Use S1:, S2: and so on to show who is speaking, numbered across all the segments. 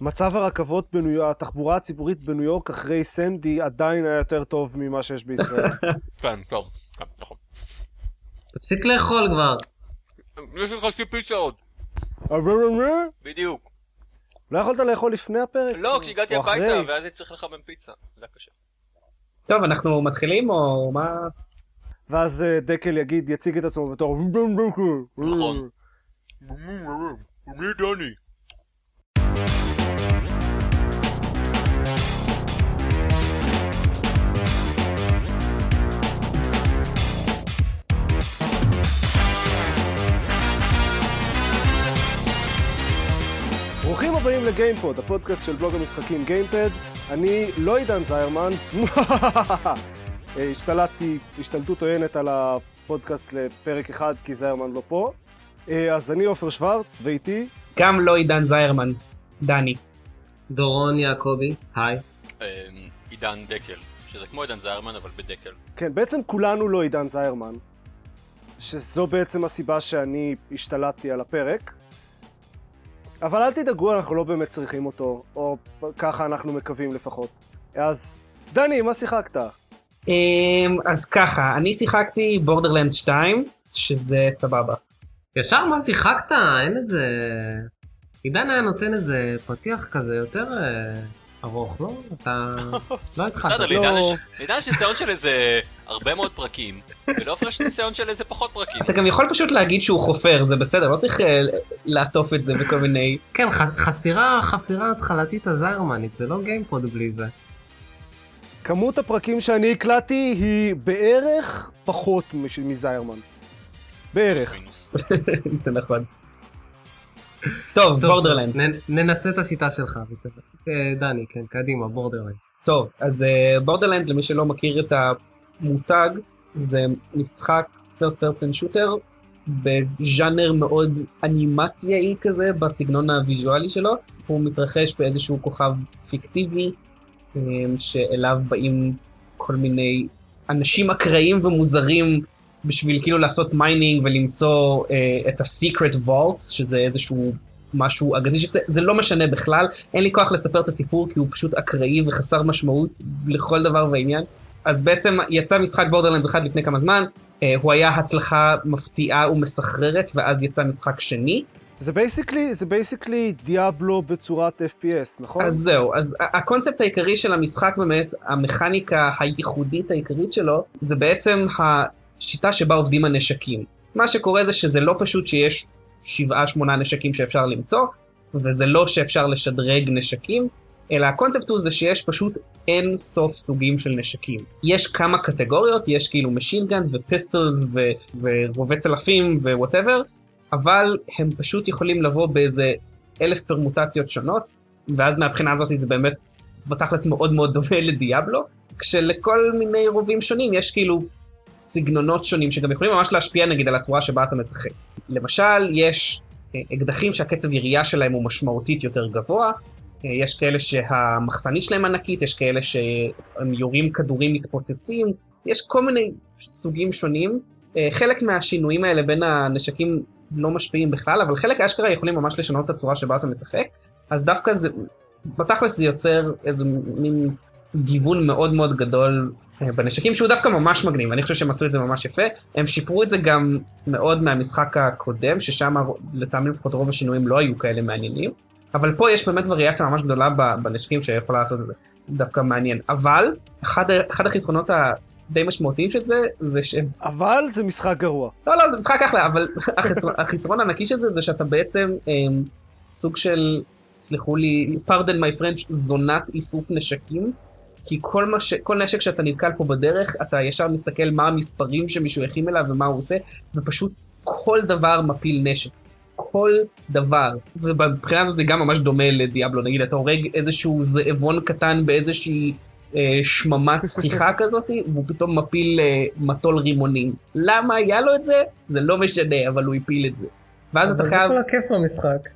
S1: מצב הרכבות בניו יורק, התחבורה הציבורית בניו יורק אחרי סנדי עדיין היה יותר טוב ממה שיש בישראל.
S2: כן, טוב, כן, נכון.
S3: תפסיק לאכול כבר.
S2: יש לך שתי פיצה עוד, בדיוק.
S1: לא יכולת לאכול לפני
S4: אה,
S1: הפרק?
S2: לא, כי הגעתי
S1: או אחרי?
S2: הביתה, ואז הייתי צריך לחמם פיצה. זה היה קשה.
S4: טוב, אנחנו מתחילים או מה?
S1: ואז אה, דקל יגיד, יציג את עצמו בתור...
S2: נכון. מי דני?
S1: ברוכים הבאים לגיימפוד, הפודקאסט של בלוג המשחקים גיימפד. אני לא עידן זיירמן. אה, השתלטתי השתלטות עוינת על הפודקאסט לפרק אחד, כי זיירמן לא פה. אה, אז אני עופר שוורץ, ואיתי...
S4: גם לא עידן זיירמן, דני.
S3: דורון יעקבי, היי.
S2: אמ, עידן דקל, שזה כמו עידן זיירמן אבל
S4: אה,
S2: בדקל.
S1: כן, בעצם כולנו לא עידן זיירמן, שזו בעצם הסיבה שאני השתלטתי על הפרק. אבל אל תדאגו, אנחנו לא באמת צריכים אותו, או ככה אנחנו מקווים לפחות. אז, דני, מה שיחקת?
S4: אמ, אז ככה, אני שיחקתי בורדרלנד 2, שזה סבבה.
S3: ישר מה שיחקת? אין איזה... עידן היה נותן איזה פתיח כזה יותר אה, ארוך, לא? אתה לא התחלת.
S2: בסדר, לעידן יש- לעידן יש ניסיון של איזה הרבה מאוד פרקים, ולעופר יש ניסיון של איזה פחות פרקים.
S4: אתה גם יכול פשוט להגיד שהוא חופר, זה בסדר, לא צריך אה, לעטוף את זה בכל מיני...
S3: כן, ח- חסירה, חפירה התחלתית הזיירמנית, זה לא גיימפוד בלי זה.
S1: כמות הפרקים שאני הקלטתי היא בערך פחות מש- מזיירמן. בערך.
S2: מינוס.
S4: זה נכון. טוב,
S3: טוב,
S4: בורדרלנד.
S3: נ- ננסה את השיטה שלך, בסדר. אה, דני, כן, קדימה, בורדרלנד.
S4: טוב, אז בורדרלנד, למי שלא מכיר את המותג, זה משחק פרסט פרסן שוטר בז'אנר מאוד אנימציהי כזה, בסגנון הוויזואלי שלו. הוא מתרחש באיזשהו כוכב פיקטיבי, אה, שאליו באים כל מיני אנשים אקראיים ומוזרים בשביל כאילו לעשות מיינינג ולמצוא אה, את ה-secret vaults, שזה איזשהו משהו אגדי שקצת, זה לא משנה בכלל, אין לי כוח לספר את הסיפור כי הוא פשוט אקראי וחסר משמעות לכל דבר ועניין. אז בעצם יצא משחק בורדרלנדס אחד לפני כמה זמן, אה, הוא היה הצלחה מפתיעה ומסחררת, ואז יצא משחק שני.
S1: זה בייסיקלי, זה בייסיקלי דיאבלו בצורת FPS, נכון?
S4: אז זהו, אז ה- הקונספט העיקרי של המשחק באמת, המכניקה הייחודית העיקרית שלו, זה בעצם השיטה שבה עובדים הנשקים. מה שקורה זה שזה לא פשוט שיש שבעה שמונה נשקים שאפשר למצוא, וזה לא שאפשר לשדרג נשקים, אלא הקונספט הוא זה שיש פשוט אין סוף סוגים של נשקים. יש כמה קטגוריות, יש כאילו משין גאנס ופיסטלס ו- ורובי צלפים ווואטאבר, אבל הם פשוט יכולים לבוא באיזה אלף פרמוטציות שונות, ואז מהבחינה הזאת זה באמת בתכלס מאוד מאוד דומה לדיאבלו, כשלכל מיני רובים שונים יש כאילו סגנונות שונים שגם יכולים ממש להשפיע נגיד על הצורה שבה אתה משחק. למשל, יש אה, אקדחים שהקצב ירייה שלהם הוא משמעותית יותר גבוה, אה, יש כאלה שהמחסנית שלהם ענקית, יש כאלה שהם יורים כדורים מתפוצצים, יש כל מיני סוגים שונים. אה, חלק מהשינויים האלה בין הנשקים לא משפיעים בכלל, אבל חלק אשכרה יכולים ממש לשנות את הצורה שבה אתה משחק. אז דווקא זה, בתכלס זה יוצר איזה מין גיוון מאוד מאוד גדול אה, בנשקים שהוא דווקא ממש מגניב, אני חושב שהם עשו את זה ממש יפה. הם שיפרו את זה גם מאוד מהמשחק הקודם, ששם הר- לטעמי לפחות רוב השינויים לא היו כאלה מעניינים, אבל פה יש באמת וריאציה ממש גדולה ב- בנשקים שיכולה לעשות את זה, דווקא מעניין. אבל אחד, ה- אחד החסרונות הדי משמעותיים של זה, זה שהם
S1: אבל זה משחק גרוע.
S4: לא, לא, זה משחק אחלה, אבל החסרון- החסרון הענקי של זה, זה שאתה בעצם אמ, סוג של, סלחו לי, פרדן מי פרנץ', זונת איסוף נשקים. כי כל, מה ש... כל נשק שאתה נתקל פה בדרך, אתה ישר מסתכל מה המספרים שמישהו הכין אליו ומה הוא עושה, ופשוט כל דבר מפיל נשק. כל דבר. ומבחינה הזאת זה גם ממש דומה לדיאבלו, נגיד אתה הורג איזשהו זאבון קטן באיזושהי אה, שממת זכיחה כזאת, והוא פתאום מפיל אה, מטול רימונים. למה היה לו את זה? זה לא משנה, אבל הוא הפיל את זה. ואז אתה חייב...
S3: אבל זה כל הכיף במשחק.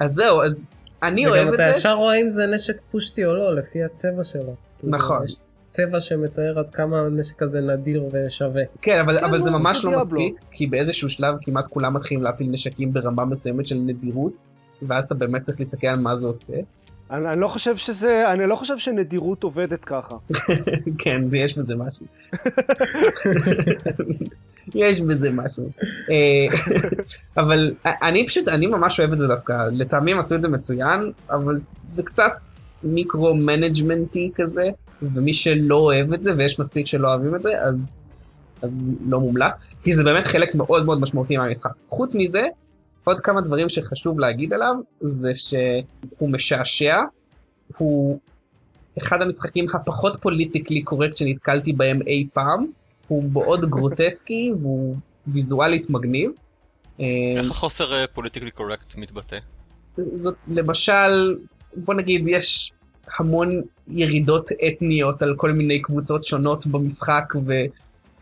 S4: אז זהו, אז אני אוהב
S3: וגם
S4: את
S3: אתה
S4: זה.
S3: ישר רואה אם זה נשק פושטי או לא, לפי הצבע שלו. כאילו,
S4: נכון.
S3: יש צבע שמתאר עד כמה הנשק הזה נדיר ושווה.
S4: כן, אבל,
S1: כן,
S4: אבל זה
S1: לא,
S4: ממש
S1: זה
S4: לא
S1: דיאבלו.
S4: מספיק, כי באיזשהו שלב כמעט כולם מתחילים להפיל נשקים ברמה מסוימת של נדירות, ואז אתה באמת צריך להסתכל על מה זה עושה.
S1: אני, אני לא חושב שזה, אני לא חושב שנדירות עובדת ככה.
S4: כן, יש בזה משהו. יש בזה משהו. אה, אבל אני פשוט, אני ממש אוהב את זה דווקא. לטעמי הם עשו את זה מצוין, אבל זה קצת מיקרו-מנג'מנטי כזה, ומי שלא אוהב את זה, ויש מספיק שלא אוהבים את זה, אז, אז לא מומלץ, כי זה באמת חלק מאוד מאוד משמעותי מהמשחק. חוץ מזה, עוד כמה דברים שחשוב להגיד עליו, זה שהוא משעשע, הוא אחד המשחקים הפחות פוליטיקלי קורקט שנתקלתי בהם אי פעם, הוא מאוד גרוטסקי והוא ויזואלית מגניב. אה,
S2: איך החוסר פוליטיקלי קורקט מתבטא?
S4: זאת למשל, בוא נגיד יש המון ירידות אתניות על כל מיני קבוצות שונות במשחק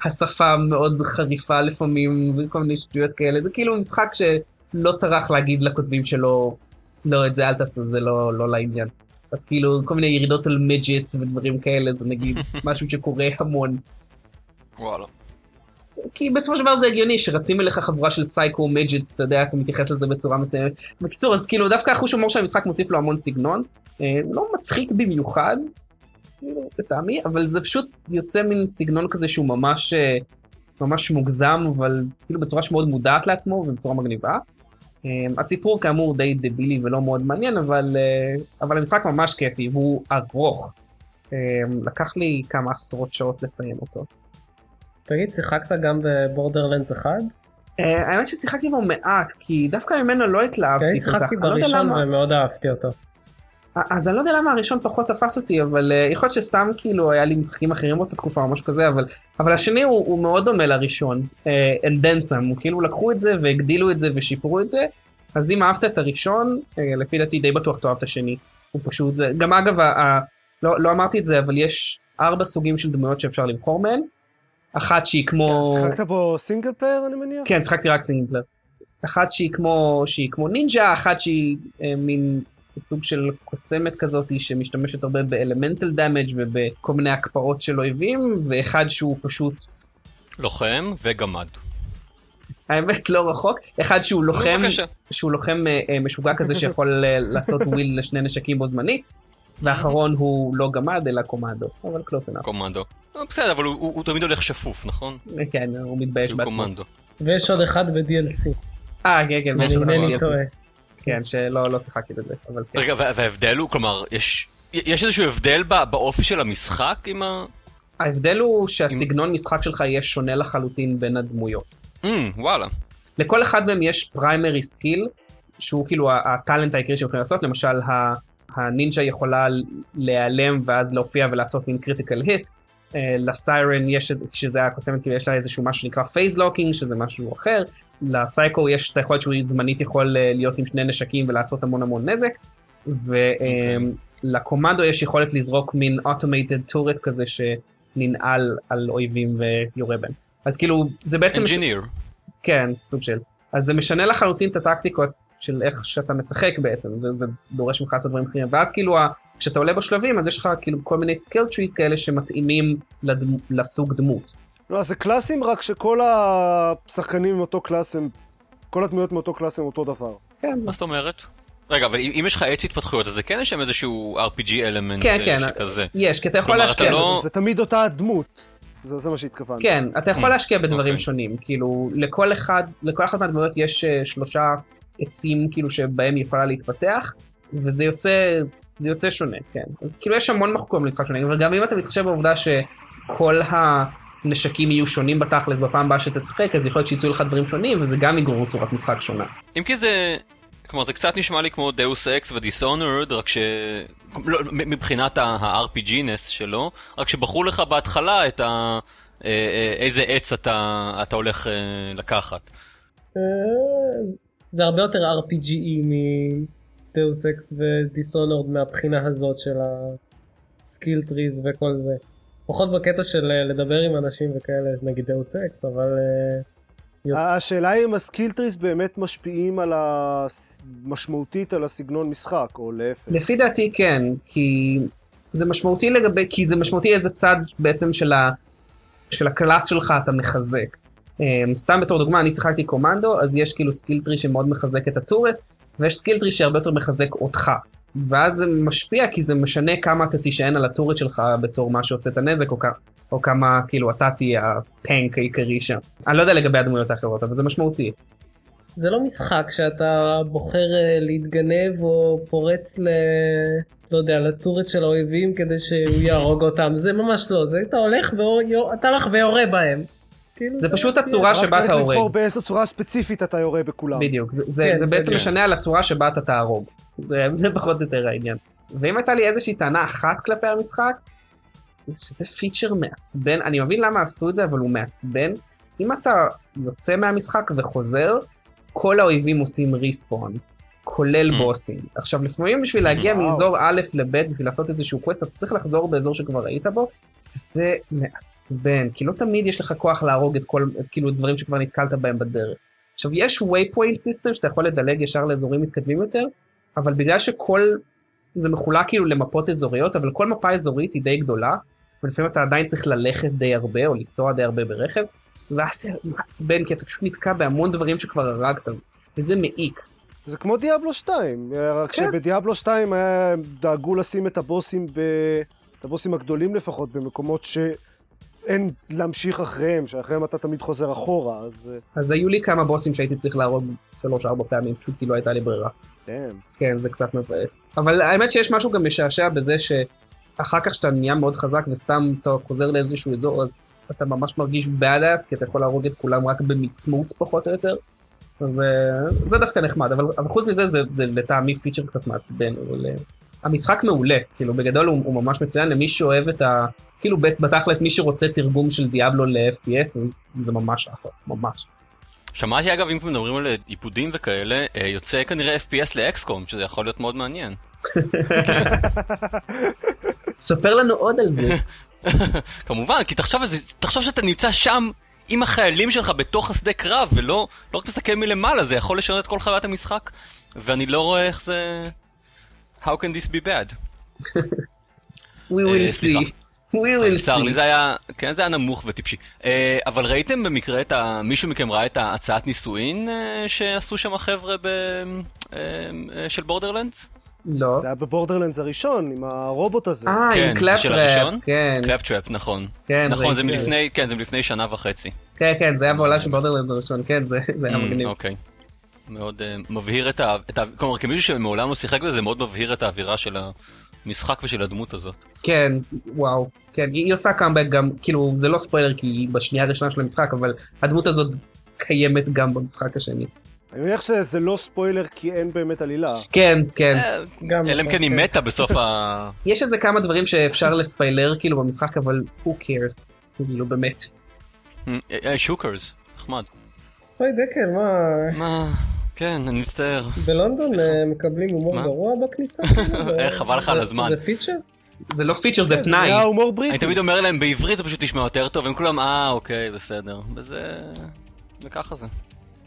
S4: והשפה מאוד חריפה לפעמים וכל מיני שטויות כאלה, זה כאילו משחק שלא טרח להגיד לכותבים שלו, לא את זה אל תעשה, זה לא, לא לעניין. אז כאילו כל מיני ירידות על מידג'טס ודברים כאלה זה נגיד משהו שקורה המון.
S2: וואלה.
S4: כי בסופו של דבר זה הגיוני שרצים אליך חבורה של סייקו מידג'טס, אתה יודע, אתה מתייחס לזה בצורה מסוימת. בקיצור, אז כאילו דווקא החוש הומור של המשחק מוסיף לו המון סגנון. אה, הוא לא מצחיק במיוחד, כאילו, לטעמי, אבל זה פשוט יוצא מין סגנון כזה שהוא ממש אה, ממש מוגזם, אבל כאילו בצורה שמאוד מודעת לעצמו ובצורה מגניבה. אה, הסיפור כאמור די דבילי ולא מאוד מעניין, אבל, אה, אבל המשחק ממש כיפי, והוא ארוך. אה, לקח לי כמה עשרות שעות לסיים אותו.
S3: תגיד, שיחקת גם בבורדרלנדס 1?
S4: אה, האמת ששיחקתי בו מעט, כי דווקא ממנו לא
S3: כי אני
S4: התלהבתי כל כך.
S3: אוקיי, כן, שיחקתי
S4: אני לא יודע
S3: בראשון
S4: למה-
S3: ומאוד אהבתי אותו.
S4: אז אני לא יודע למה הראשון פחות תפס אותי, אבל אה, יכול להיות שסתם כאילו היה לי משחקים אחרים באותה תקופה או משהו כזה, אבל, אבל השני הוא, הוא מאוד דומה לראשון, אה, אל דנסם, הוא כאילו לקחו את זה והגדילו את זה ושיפרו את זה, אז אם אהבת את הראשון, אה, לפי דעתי די בטוח תאהב את השני. הוא פשוט, זה- גם אגב, ה, ה, לא, לא אמרתי את זה, אבל יש ארבע סוגים של דמויות שאפשר לבחור מהן, אחת שהיא כמו...
S1: אה, שיחקת בו סינגל פלייר, אני מניח?
S4: כן, שיחקתי רק סינגלר. אחת שהיא כמו, שהיא כמו נינג'ה, אחת שהיא אה, מין סוג של קוסמת כזאת שמשתמשת הרבה באלמנטל דאמג' ובכל מיני הקפאות של אויבים, ואחד שהוא פשוט,
S2: לוחם וגמד.
S4: האמת לא רחוק, אחד שהוא לוחם,
S2: בבקשה.
S4: שהוא לוחם אה, אה, משוגע כזה שיכול אה, לעשות וויל לשני נשקים בו זמנית, והאחרון הוא לא גמד אלא קומדו, אבל קלוס אנאפ.
S2: קומנדו. אה, בסדר, אבל הוא- הוא הוא תמיד הולך שפוף, נכון?
S4: כן, הוא מתבייש
S2: הוא
S4: בעצמו.
S2: קומנדו.
S3: ויש עוד אחד ב-DLC,
S4: אה, כן, כן, ויש
S3: אם
S4: עוד
S3: אינני
S4: אחד.
S3: טועה.
S4: כן, שלא לא שיחקתי בזה, אבל כן.
S2: רגע, וה- וההבדל הוא, כלומר, יש... יש איזשהו הבדל ב- באופי של המשחק עם ה...
S4: ההבדל הוא שהסגנון משחק שלך יהיה שונה לחלוטין בין הדמויות.
S2: אמ, וואלה.
S4: לכל אחד מהם יש פריימרי סקיל, שהוא כאילו ה- הטאלנט העיקרי שהם יכולים לעשות, למשל ה- הנינג'ה יכולה להיעלם ואז להופיע ולעשות מין קריטיקל היט. לסיירן יש, איזה- כשזה היה קוסמת, כאילו יש לה איזשהו משהו שנקרא פייס לוקינג, שזה משהו אחר. לסייקו יש את היכולת שהוא זמנית יכול אה, להיות עם שני נשקים ולעשות המון המון נזק. ולקומנדו יש יכולת לזרוק מין automated turret כזה שננעל על אויבים ויורה בהם. אז כאילו זה בעצם...
S2: אנג'יניר.
S4: כן, סוג של. אז זה משנה לחלוטין את הטקטיקות של איך שאתה משחק בעצם, זה, זה דורש ממך לעשות דברים אחרים. ואז כאילו, ה- כשאתה עולה בשלבים, אז יש לך כאילו כל מיני סקיל טריס כאלה שמתאימים לדמ... לסוג דמות.
S1: לא, אז זה קלאסים, רק שכל השחקנים מאותו קלאס הם... כל הדמויות מאותו קלאס הם אותו דבר.
S4: כן,
S2: מה זאת אומרת? רגע, אבל אם אם יש לך עץ התפתחויות, אז זה כן יש שם איזשהו RPG אלמנט
S4: כן,
S2: אה,
S4: כן.
S2: שכזה.
S4: יש, כי אתה יכול
S2: כלומר, אתה
S4: להשקיע...
S1: כן,
S2: לא-
S1: אז זה תמיד אותה הדמות. זה, זה מה שהתכוונתי.
S4: כן, אתה יכול
S2: Hmm,
S4: להשקיע בדברים
S2: אוקיי.
S4: שונים, כאילו לכל אחד, לכל אחת מהדמויות יש אה, שלושה עצים כאילו שבהם היא יכולה להתפתח, וזה יוצא, זה יוצא שונה, כן. אז כאילו יש המון מקום למשחק שונה, אבל גם אם אתה מתחשב בעובדה שכל הנשקים יהיו שונים בתכלס בפעם הבאה שתשחק, אז יכול להיות שיצאו לך דברים שונים, וזה גם יגרור צורת משחק שונה.
S2: אם כי זה... כלומר, זה קצת נשמע לי כמו דאוס אקס ודיסאונרד, רק ש... לא, מ- מבחינת ה-RPG-נס שלו, רק שבחרו לך בהתחלה את ה... אה, אה, איזה עץ אתה, אתה הולך אה, לקחת.
S3: אה, זה- זה הרבה יותר RPGE מדאוס אקס ודיסונורד מהבחינה הזאת של הסקיל טריז וכל זה. פחות בקטע של אה, לדבר עם אנשים וכאלה, נגיד דאוס אקס, אבל אה,
S4: כן.
S1: השאלה היא אם הסקילטריס באמת משפיעים על ה... משמעותית על הסגנון משחק, או להפך.
S4: לפי דעתי כן, כי זה משמעותי לגבי, כי זה משמעותי איזה צד בעצם של, ה, של הקלאס שלך אתה מחזק. אמ, סתם בתור דוגמה, אני שיחקתי קומנדו, אז יש כאילו סקיל טרי שמאוד מחזק את הטורט, ויש סקיל טרי שהרבה יותר מחזק אותך. ואז זה משפיע כי זה משנה כמה אתה תישען על הטורט שלך בתור מה שעושה את הנזק, או, כ- או כמה כאילו אתה תהיה הטנק העיקרי שם. אני לא יודע לגבי הדמויות האחרות, אבל זה משמעותי.
S3: זה לא משחק שאתה בוחר אה, להתגנב או פורץ ל... לא יודע, לטורט של האויבים כדי שהוא יהרוג אותם, זה ממש לא, זה אתה הולך ואתה הולך ויורה בהם. כאילו,
S4: זה פשוט הצורה
S1: רק
S4: שבה
S1: צריך
S4: אתה הורג.
S1: לבחור באיזו צורה ספציפית אתה יורה בכולם.
S4: בדיוק, זה, זה,
S3: כן,
S4: זה בעצם
S2: כן.
S4: משנה על הצורה שבה אתה תהרוג. זה, זה פחות או יותר העניין. ואם הייתה לי איזושהי טענה אחת כלפי המשחק, זה שזה פיצ'ר מעצבן, אני מבין למה עשו את זה, אבל הוא מעצבן. אם אתה יוצא מהמשחק וחוזר, כל האויבים עושים ריספון, כולל
S2: Mm.
S4: בוסים. עכשיו, לפעמים בשביל להגיע
S1: וואו.
S4: מאזור א' לב', בשביל לעשות איזשהו קווסט, אתה צריך לחזור באזור שכבר היית בו, וזה מעצבן, כי לא תמיד יש לך כוח להרוג את כל, את, כאילו, דברים שכבר נתקלת בהם בדרך. עכשיו, יש waypoint system שאתה יכול לדלג ישר לאזורים מתקדמים יותר, אבל בגלל שכל, זה מחולק כאילו למפות אזוריות, אבל כל מפה אזורית היא די גדולה, ולפעמים אתה עדיין צריך ללכת די הרבה, או לנסוע די הרבה ברכב, ואז זה מעצבן, כי אתה פשוט נתקע בהמון דברים שכבר הרגת, וזה מעיק.
S1: זה כמו דיאבלו 2, רק
S4: כן.
S1: שבדיאבלו 2 היה- דאגו לשים את הבוסים, ב... את הבוסים הגדולים לפחות, במקומות שאין להמשיך אחריהם, שאחריהם אתה תמיד חוזר אחורה, אז... אה,
S4: אז היו לי כמה בוסים שהייתי צריך להרוג שלוש-ארבע פעמים, פשוט כי לא הייתה לי ברירה.
S1: damn.
S4: כן, זה קצת מבאס. אבל האמת שיש משהו גם משעשע בזה שאחר כך שאתה נהיה מאוד חזק וסתם אתה חוזר לאיזשהו אזור, אז אתה ממש מרגיש badass, כי אתה יכול להרוג את כולם רק במצמוץ פחות או יותר. אז אה, זה דווקא נחמד, אבל, אבל חוץ מזה זה, זה לטעמי פיצ'ר קצת מעצבן, אבל... אה, המשחק מעולה, כאילו בגדול הוא, הוא ממש מצוין למי שאוהב את ה... כאילו בת- בתכלס מי שרוצה תרגום של דיאבלו ל-FPS, זה ממש אחלה, ממש.
S2: שמעתי אגב, אם כבר מדברים על עיבודים וכאלה, אה, יוצא כנראה FPS לאקסקום, שזה יכול להיות מאוד מעניין.
S4: ספר לנו עוד על זה.
S2: כמובן, כי תחשוב, על זה- תחשוב שאתה נמצא שם עם החיילים שלך בתוך השדה קרב, ולא לא רק מסתכל מלמעלה, זה יכול לשנות את כל חוויית המשחק, ואני לא רואה איך זה... How can this be bad?
S4: We will
S2: אה, סליחה.
S4: see. We will
S2: צר
S4: see.
S2: לי, זה היה, כן, זה היה נמוך וטיפשי. אה, אבל ראיתם במקרה את ה... מישהו מכם ראה את ההצעת נישואין אה, שעשו שם החבר'ה ב... אה, אה, של בורדרלנדס?
S4: לא.
S1: זה היה בבורדרלנדס הראשון, עם הרובוט הזה.
S4: אה, עם
S2: כן, של הראשון?
S4: קלאפטראפ. כן,
S2: קלאפטראפ, נכון.
S4: כן.
S2: נכון, זה
S4: יקרה.
S2: מלפני, כן, זה מלפני שנה וחצי.
S4: כן, כן, זה היה בעולם של בורדרלנד הראשון, כן, זה זה היה
S2: Mm,
S4: מגניב.
S2: אוקיי. מאוד אה, מבהיר את ה... את ה- כלומר, כמישהו שמעולם לא שיחק בזה, מאוד מבהיר את האווירה של המשחק ושל הדמות הזאת.
S4: כן, וואו. כן, היא היא עושה קאמבק גם, כאילו, זה לא ספוילר כי היא בשנייה הראשונה של המשחק, אבל הדמות הזאת קיימת גם במשחק השני.
S1: אני מניח שזה לא ספוילר, כי אין באמת עלילה.
S4: כן, כן.
S2: אה,
S3: גם
S2: אלא אם כן היא
S3: אוקיי.
S2: מתה בסוף ה...
S4: יש איזה כמה דברים שאפשר לספיילר כאילו במשחק, אבל who cares, כאילו, באמת.
S2: אה, שוקרס, נחמד.
S3: אוי דקל, מה,
S2: מה? כן, אני מצטער.
S3: בלונדון
S2: סליחה.
S3: אה, מקבלים הומור
S2: מה?
S3: גרוע בכניסה?
S2: אה, חבל לך על
S3: זה-
S2: הזמן.
S3: זה פיצ'ר?
S4: זה לא פיצ'ר, זה
S1: זה
S4: תנאי.
S1: היה הומור בריטי.
S2: אני תמיד אומר להם בעברית זה פשוט נשמע יותר טוב, הם כולם אה אוקיי בסדר, וזה... וככה זה.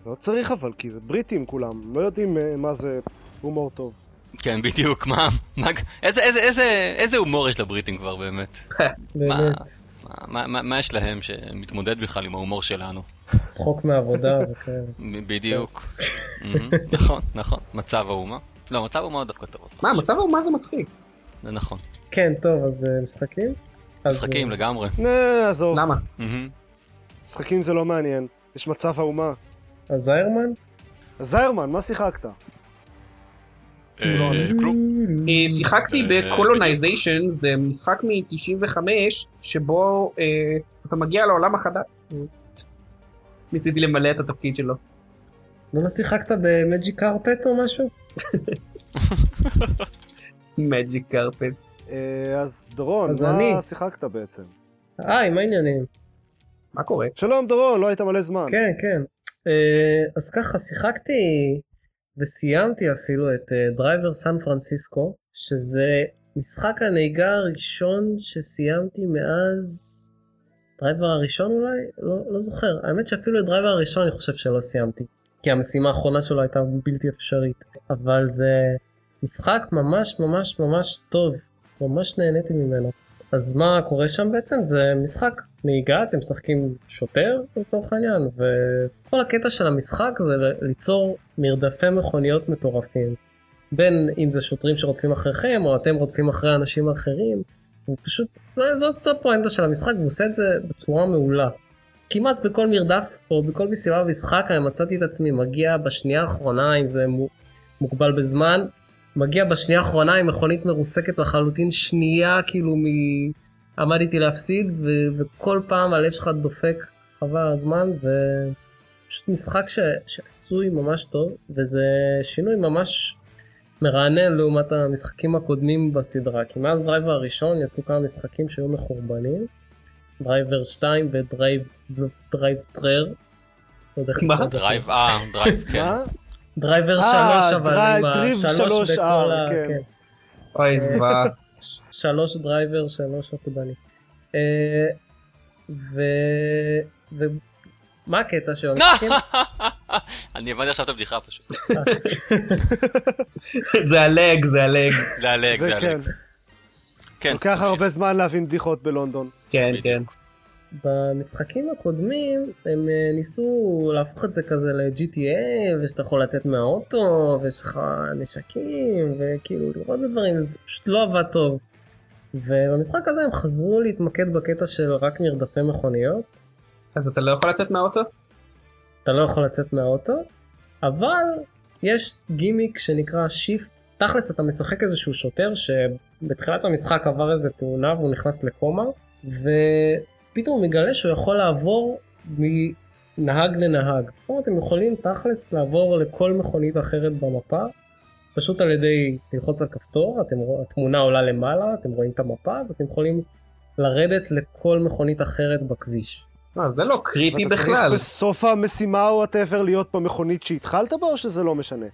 S1: לא צריך אבל, כי זה בריטים כולם, לא יודעים אה, מה זה הומור טוב.
S2: כן בדיוק, מה? מה- איזה- איזה- איזה- איזה הומור יש לבריטים כבר באמת?
S3: באמת,
S2: מה- מה- מה- מה יש להם שמתמודד בכלל עם ההומור שלנו?
S3: צחוק מעבודה וכאלה.
S2: ב- בדיוק. מהמם, נכון, נכון. מצב האומה. לא, מצב האומה הוא דווקא טוב. אז
S4: מה, מצב האומה זה מצחיק.
S2: זה נכון.
S3: כן, טוב, אז אה, משחקים? אז, אה,
S2: משחקים לגמרי.
S1: נה, עזוב,
S4: למה?
S2: מהמם.
S1: משחקים זה לא מעניין. יש מצב האומה.
S2: לא-
S3: אז זיירמן?
S1: זיירמן, מה שיחקת? לא,
S2: אה,
S3: לא
S1: אני-
S2: כלום.
S4: אה, שיחקתי
S2: אה,
S4: בקולונייזיישן, זה משחק מ-95, שבו אה, אתה מגיע לעולם החדש. ניסיתי למלא את התפקיד שלו.
S3: נו, לא שיחקת במג'יק קרפט או משהו?
S4: מג'יק קרפט.
S1: אה, אז דורון,
S3: אז
S1: מה
S3: אני.
S1: שיחקת בעצם?
S3: היי, מה העניינים?
S4: מה קורה?
S1: שלום דורון, לא היית מלא זמן.
S3: כן, כן. אה, אז ככה, שיחקתי וסיימתי אפילו את אה, דרייבר סן פרנסיסקו, שזה משחק הנהיגה הראשון שסיימתי מאז... דרייבר הראשון אולי? לא, לא זוכר. האמת שאפילו את דרייבר הראשון אני חושב שלא סיימתי, כי המשימה האחרונה שלו הייתה בלתי אפשרית. אבל זה משחק ממש ממש ממש טוב, ממש נהניתי ממנו. אז מה קורה שם בעצם? זה משחק נהיגה, אתם משחקים שוטר לצורך העניין, וכל הקטע של המשחק זה ל- ליצור מרדפי מכוניות מטורפים. בין אם זה שוטרים שרודפים אחריכם, או אתם רודפים אחרי אנשים אחרים, הוא פשוט, זה- זאת, זאת הפואנטה של המשחק, והוא עושה את זה בצורה מעולה. כמעט בכל מרדף, או בכל מסיבה במשחק, אני מצאתי את עצמי מגיע בשנייה האחרונה, אם זה מו- מוגבל בזמן, מגיע בשנייה האחרונה עם מכונית מרוסקת לחלוטין, שנייה כאילו מ... עמדתי להפסיד, ו- וכל פעם הלב שלך דופק חבל הזמן, ופשוט משחק ש... שעשוי ממש טוב, וזה שינוי ממש מרענן לעומת המשחקים הקודמים בסדרה, כי מאז דרייבר הראשון יצאו כמה משחקים שהיו מחורבנים, דרייבר 2 ודרייב דרייב טרר. לא יודע איך
S4: מה?
S3: לקרוא לזה.
S2: דרייב, אה, דרייב, כן.
S1: מה?
S3: דרייבר
S1: אה,
S3: 3 אבל,
S1: דרייב-
S3: עם
S1: דריב
S3: השלוש
S1: שלוש,
S3: בכל
S1: אה,
S3: ה...
S1: כן.
S3: כן.
S4: אוי, זוועה.
S3: ש- שלוש דרייבר, שלוש עצבני. אה, ו... ומה הקטע כן, של המשחקים?
S2: אני הבנתי עכשיו את הבדיחה פשוט.
S4: זה הלג, זה הלג.
S2: זה הלג,
S1: זה
S2: זה הלג.
S1: כן.
S2: כן.
S1: לוקח הרבה זמן להבין בדיחות בלונדון.
S4: כן, כן.
S3: במשחקים הקודמים הם אה, ניסו להפוך את זה כזה ל-GTA, ושאתה יכול לצאת מהאוטו, ויש לך נשקים, וכאילו לראות בדברים, זה פשוט לא עבד טוב. ובמשחק הזה הם חזרו להתמקד בקטע של רק מרדפי מכוניות.
S4: אז אתה לא יכול לצאת מהאוטו?
S3: אתה לא יכול לצאת מהאוטו, אבל יש גימיק שנקרא שיפט. תכלס אתה משחק איזשהו שוטר שבתחילת המשחק עבר איזה תאונה והוא נכנס לקומה, ופתאום הוא מגלה שהוא יכול לעבור מנהג לנהג. זאת אומרת הם יכולים תכלס לעבור לכל מכונית אחרת במפה, פשוט על ידי ללחוץ על כפתור, אתם, רוא- התמונה עולה למעלה, אתם רואים את המפה ואתם יכולים לרדת לכל מכונית אחרת בכביש.
S4: לא, זה לא קריפי
S1: ואתה צריך
S4: בכלל.
S1: בסוף המשימה או וואטאבר להיות במכונית שהתחלת בה, או שזה לא משנה?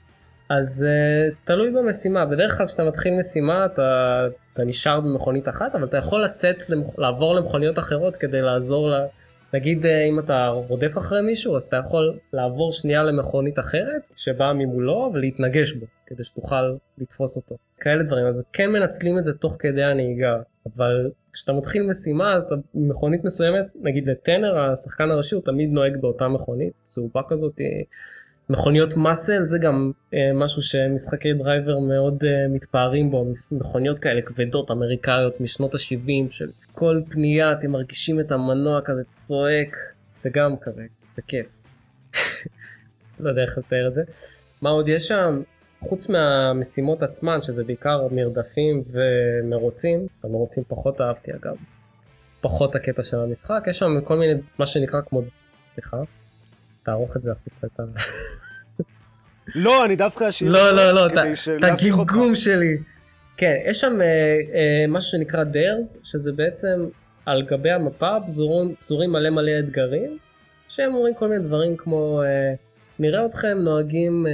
S3: אז uh, תלוי במשימה, בדרך כלל כשאתה מתחיל משימה אתה, אתה נשאר במכונית אחת, אבל אתה יכול לצאת, למכ... לעבור למכוניות אחרות כדי לעזור ל... נגיד uh, אם אתה רודף אחרי מישהו אז אתה יכול לעבור שנייה למכונית אחרת שבאה ממולו ולהתנגש בו כדי שתוכל לתפוס אותו. כאלה דברים, אז כן מנצלים את זה תוך כדי הנהיגה, אבל כשאתה מתחיל משימה אז אתה מכונית מסוימת, נגיד לטנר השחקן הראשי הוא תמיד נוהג באותה מכונית, צהובה כזאת אה, מכוניות מאסל זה גם אה, משהו שמשחקי דרייבר מאוד אה, מתפארים בו, מס- מכוניות כאלה כבדות אמריקאיות משנות ה-70 של כל פנייה אתם מרגישים את המנוע כזה צועק, זה גם כזה, זה כיף. לא יודע איך לתאר את זה. מה עוד יש שם? חוץ מהמשימות עצמן שזה בעיקר מרדפים ומרוצים, המרוצים פחות אהבתי אגב, פחות הקטע של המשחק, יש שם כל מיני מה שנקרא כמו, סליחה, תערוך את זה החוצה את ה...
S1: לא, אני דווקא אשאיר
S3: לא,
S1: את זה,
S3: לא, לא,
S1: כדי
S3: אתה-
S1: שלהביך
S3: את
S1: אותך.
S3: הגמגום שלי. כן, יש שם אה, אה, משהו שנקרא דרס, שזה בעצם על גבי המפה פזורים, פזורים מלא מלא אתגרים, שהם אומרים כל מיני דברים כמו אה, נראה אתכם נוהגים אה,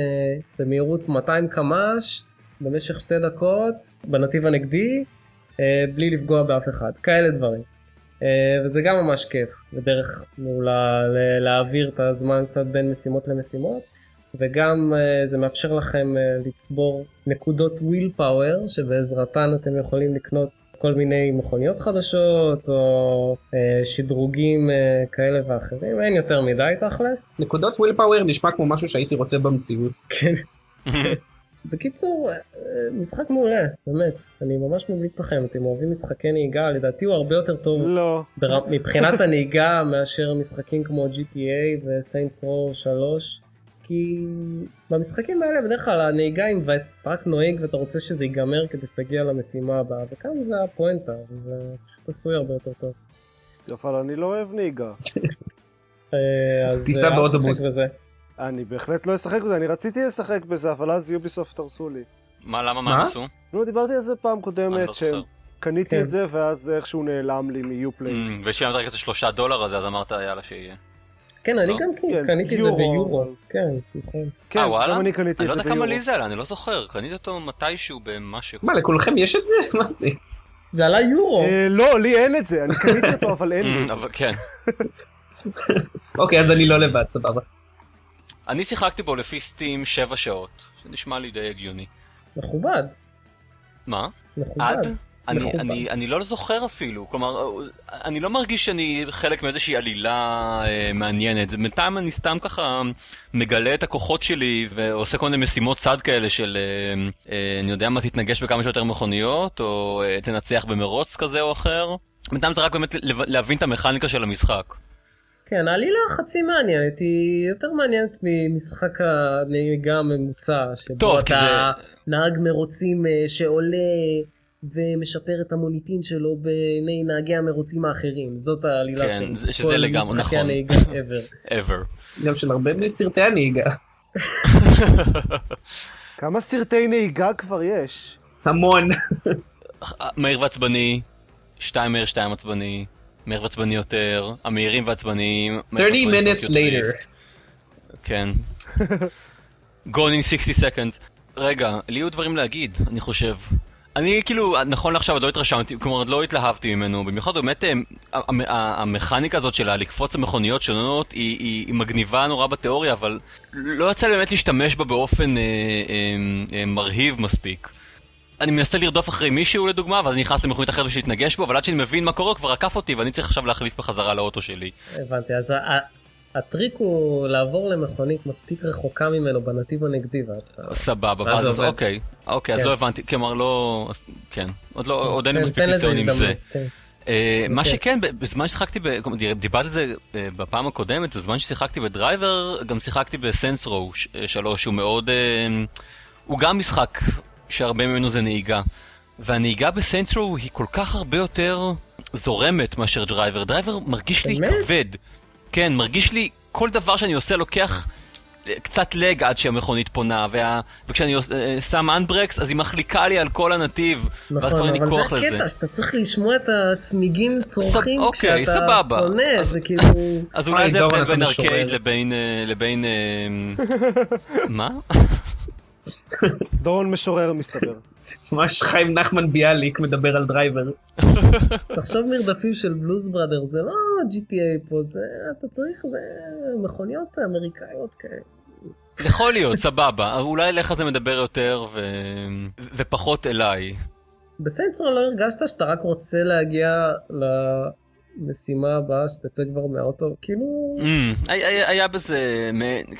S3: במהירות 200 קמ"ש במשך שתי דקות בנתיב הנגדי, אה, בלי לפגוע באף אחד, כאלה דברים. אה, וזה גם ממש כיף, זה דרך מעולה ל- להעביר את הזמן קצת בין משימות למשימות. וגם אה, זה מאפשר לכם אה, לצבור נקודות וויל פאוור שבעזרתן אתם יכולים לקנות כל מיני מכוניות חדשות או אה, שדרוגים אה, כאלה ואחרים, אין יותר מדי תכלס.
S4: נקודות וויל פאוור נשמע כמו משהו שהייתי רוצה במציאות.
S3: כן. בקיצור, אה, אה, משחק מעולה, באמת. אני ממש ממליץ לכם, אתם אוהבים משחקי נהיגה, לדעתי הוא הרבה יותר טוב
S1: לא.
S3: בר- מבחינת הנהיגה מאשר משחקים כמו GTA וסיינטס רו 3 כי במשחקים האלה בדרך כלל הנהיגה היא מבאסת, אתה רק נוהג ואתה רוצה שזה ייגמר כדי שתגיע למשימה הבאה וכאן זה הפואנטה וזה פשוט עשוי הרבה יותר טוב.
S1: אבל אני לא אוהב נהיגה.
S3: אה, אז
S4: טיסה
S3: אה, אל
S4: באוטובוס.
S3: תשחק בזה.
S1: אני בהחלט לא אשחק בזה, אני רציתי לשחק בזה, אבל אז יוביסופט הרסו לי.
S2: מה, למה,
S4: מה?
S2: מה הם עשו?
S1: נו, דיברתי על זה פעם
S2: אני לא
S1: קודמת,
S2: זוכר.
S1: שקניתי
S3: כן.
S1: את זה, ואז איכשהו נעלם לי מיופליי.
S2: אמ, ושילמת רק את השלושה דולר הזה, אז אמרת, יאללה, שיהיה.
S3: כן אני
S2: לא?
S3: גם כן,
S1: כן,
S3: קניתי את זה
S1: יורו,
S3: ביורו.
S1: אבל-
S3: כן, נכון.
S1: כן,
S2: אה, וואלה?
S1: גם אני קניתי את
S2: אני לא
S1: זה
S2: יודע כמה
S1: ביורו.
S2: לי זה עלה, אני לא זוכר. קניתי אותו מתישהו במשהו.
S4: מה, לכולכם יש את זה? מה זה?
S3: זה עלה יורו.
S1: אה, לא, לי אין את זה, אני קניתי אותו, אבל אין לי
S2: אמ,
S1: את זה.
S2: אבל כן.
S4: אוקיי, אז אני לא לבד, סבבה.
S2: אני שיחקתי בו לפי סטים 7 שעות, שנשמע לי די הגיוני.
S3: מכובד.
S2: מה?
S4: אה,
S3: מכובד.
S2: עד? אני,
S3: מכוון.
S2: אני, אני לא זוכר אפילו, כלומר, אני לא מרגיש שאני חלק מאיזושהי עלילה אה, מעניינת, זה- בינתיים אני סתם ככה מגלה את הכוחות שלי ועושה כל מיני משימות צד כאלה של, אה, אה, אני יודע מה, תתנגש בכמה שיותר מכוניות, או אה, תנצח במרוץ כזה או אחר, בינתיים זה רק באמת לב- להבין את המכניקה של המשחק.
S3: כן, העלילה חצי מעניינת, היא יותר מעניינת ממשחק הנהיגה הממוצע, שבו
S2: טוב, כי
S3: אתה נהג מרוצים אה, שעולה ומשפר את המוניטין שלו בעיני נהגי המרוצים האחרים. זאת העלילה
S2: כן,
S3: של
S2: זה- שזה
S3: כל
S2: לגמרי,
S3: משחקי
S2: נכון.
S3: הנהיגה ever.
S2: ever.
S4: גם של הרבה מסרטי הנהיגה.
S1: כמה סרטי נהיגה כבר יש?
S4: המון.
S2: אה, מהיר ועצבני, שתיים מהיר, שתיים עצבני, מהיר ועצבני יותר, המהירים ועצבניים. מהיר
S4: 30
S2: ועצבני
S4: minutes
S2: יותר מהיר.
S4: later.
S2: כן. Gone in 60 seconds. רגע, לי היו דברים להגיד, אני חושב. אני כאילו, נכון לעכשיו עוד לא התרשמתי, כלומר עוד לא התלהבתי ממנו, במיוחד באמת אה, המ- ה- המכניקה הזאת של לקפוץ למכוניות שונות היא, היא, היא מגניבה נורא בתיאוריה, אבל לא יצא לי באמת להשתמש בה באופן אה, אה, אה, מרהיב מספיק. אני מנסה לרדוף אחרי מישהו לדוגמה, ואז אני נכנס למכונית אחרת בשביל להתנגש בו, אבל עד שאני מבין מה קורה הוא כבר עקף אותי ואני צריך עכשיו להחליף בחזרה לאוטו שלי.
S3: הבנתי, אז ה- ה- הטריק הוא לעבור למכונית מספיק רחוקה ממנו בנתיב הנגדי, ואז אתה...
S2: סבבה,
S3: ואז
S2: ואז
S3: זה
S2: אז
S3: עובד.
S2: אוקיי, אוקיי, אז
S3: כן.
S2: לא הבנתי, כלומר לא, אז- כן, עוד לא, עוד אין לי
S3: תן-
S2: מספיק
S3: תן לזה
S2: ניסיון עם זה.
S3: הזדמנות, כן.
S2: אה, מה
S3: אוקיי.
S2: שכן, ב- בזמן ששיחקתי, ב- כלומר, דיר- דיברתי על זה אה, בפעם הקודמת, בזמן ששיחקתי בדרייבר, גם שיחקתי בסנסרו 3, שהוא מאוד, אה, הוא גם משחק שהרבה ממנו זה נהיגה. והנהיגה בסנסרו היא כל כך הרבה יותר זורמת מאשר דרייבר. דרייבר מרגיש לי
S3: באמת?
S2: כבד. כן, מרגיש לי, כל דבר שאני עושה לוקח אה, קצת לג עד שהמכונית פונה, וה... וכשאני עוש- אה, שם אנברקס, אז היא מחליקה לי על כל הנתיב, ואז כבר
S3: נכון,
S2: אין לי
S3: אבל
S2: כוח
S3: זה
S2: לזה.
S3: הקטע שאתה צריך לשמוע את הצמיגים צורכים
S2: אוקיי,
S3: כשאתה
S2: סבבה.
S3: קונה,
S2: אז-
S3: זה כאילו...
S2: אז
S4: היי,
S2: אולי זה
S4: דורון,
S2: הבדל
S4: אתה
S2: בין
S4: משורר.
S2: ארקייד לבין... אה, לבין... אה, מה?
S1: דורון משורר מסתבר.
S4: ממש חיים נחמן ביאליק מדבר על דרייבר.
S3: תחשוב מרדפים של בלוז בראדר, זה לא GTA פה, זה... אתה צריך, זה מכוניות אמריקאיות כאלה.
S2: יכול להיות, סבבה. אולי אליך זה מדבר יותר ו... ו- ופחות אליי.
S3: בסנסור לא הרגשת שאתה רק רוצה להגיע למשימה הבאה שתצא כבר מהאוטו, כאילו...
S2: Mm, היה- היה היה בזה... מ-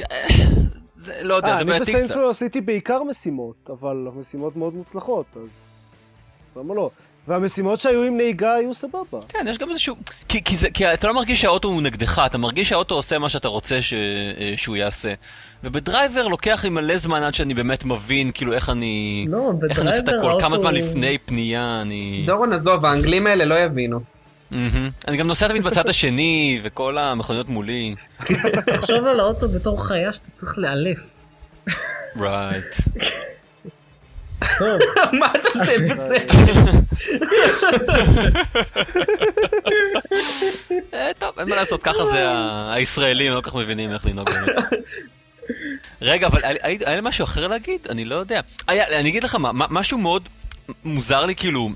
S2: זה- לא יודע,
S1: אה,
S2: זה
S1: אני
S2: בעייתי קצת.
S1: בסיינסרו עשיתי בעיקר משימות, אבל משימות מאוד מוצלחות, אז למה לא? והמשימות שהיו עם נהיגה היו סבבה.
S2: כן, יש גם איזשהו... כי, כי, זה, כי אתה לא מרגיש שהאוטו הוא נגדך, אתה מרגיש שהאוטו עושה מה שאתה רוצה ש, אה, שהוא יעשה. ובדרייבר לוקח לי מלא זמן עד שאני באמת מבין כאילו איך אני...
S3: לא,
S2: איך אני עושה את
S3: בדרייבר
S2: הכל, כמה
S3: האוטו-
S2: זמן לפני פנייה אני...
S4: דורון עזוב, האנגלים האלה לא יבינו.
S2: מהמם. Mm-hmm. אני גם נוסע תמיד בצד השני, וכל המכוניות מולי.
S3: תחשוב על האוטו בתור חיה שאתה צריך לאלף.
S2: רייט.
S3: טוב,
S4: מה אתה עושה בסדר?
S2: אה, טוב, אין מה לעשות, ככה זה ה- הישראלים, לא כל כך מבינים איך לנהוג באמת. רגע, אבל היה- היה היה לי משהו אחר להגיד? אני לא יודע. היה- אני אגיד לך מה, מה- משהו מאוד מוזר לי, כאילו,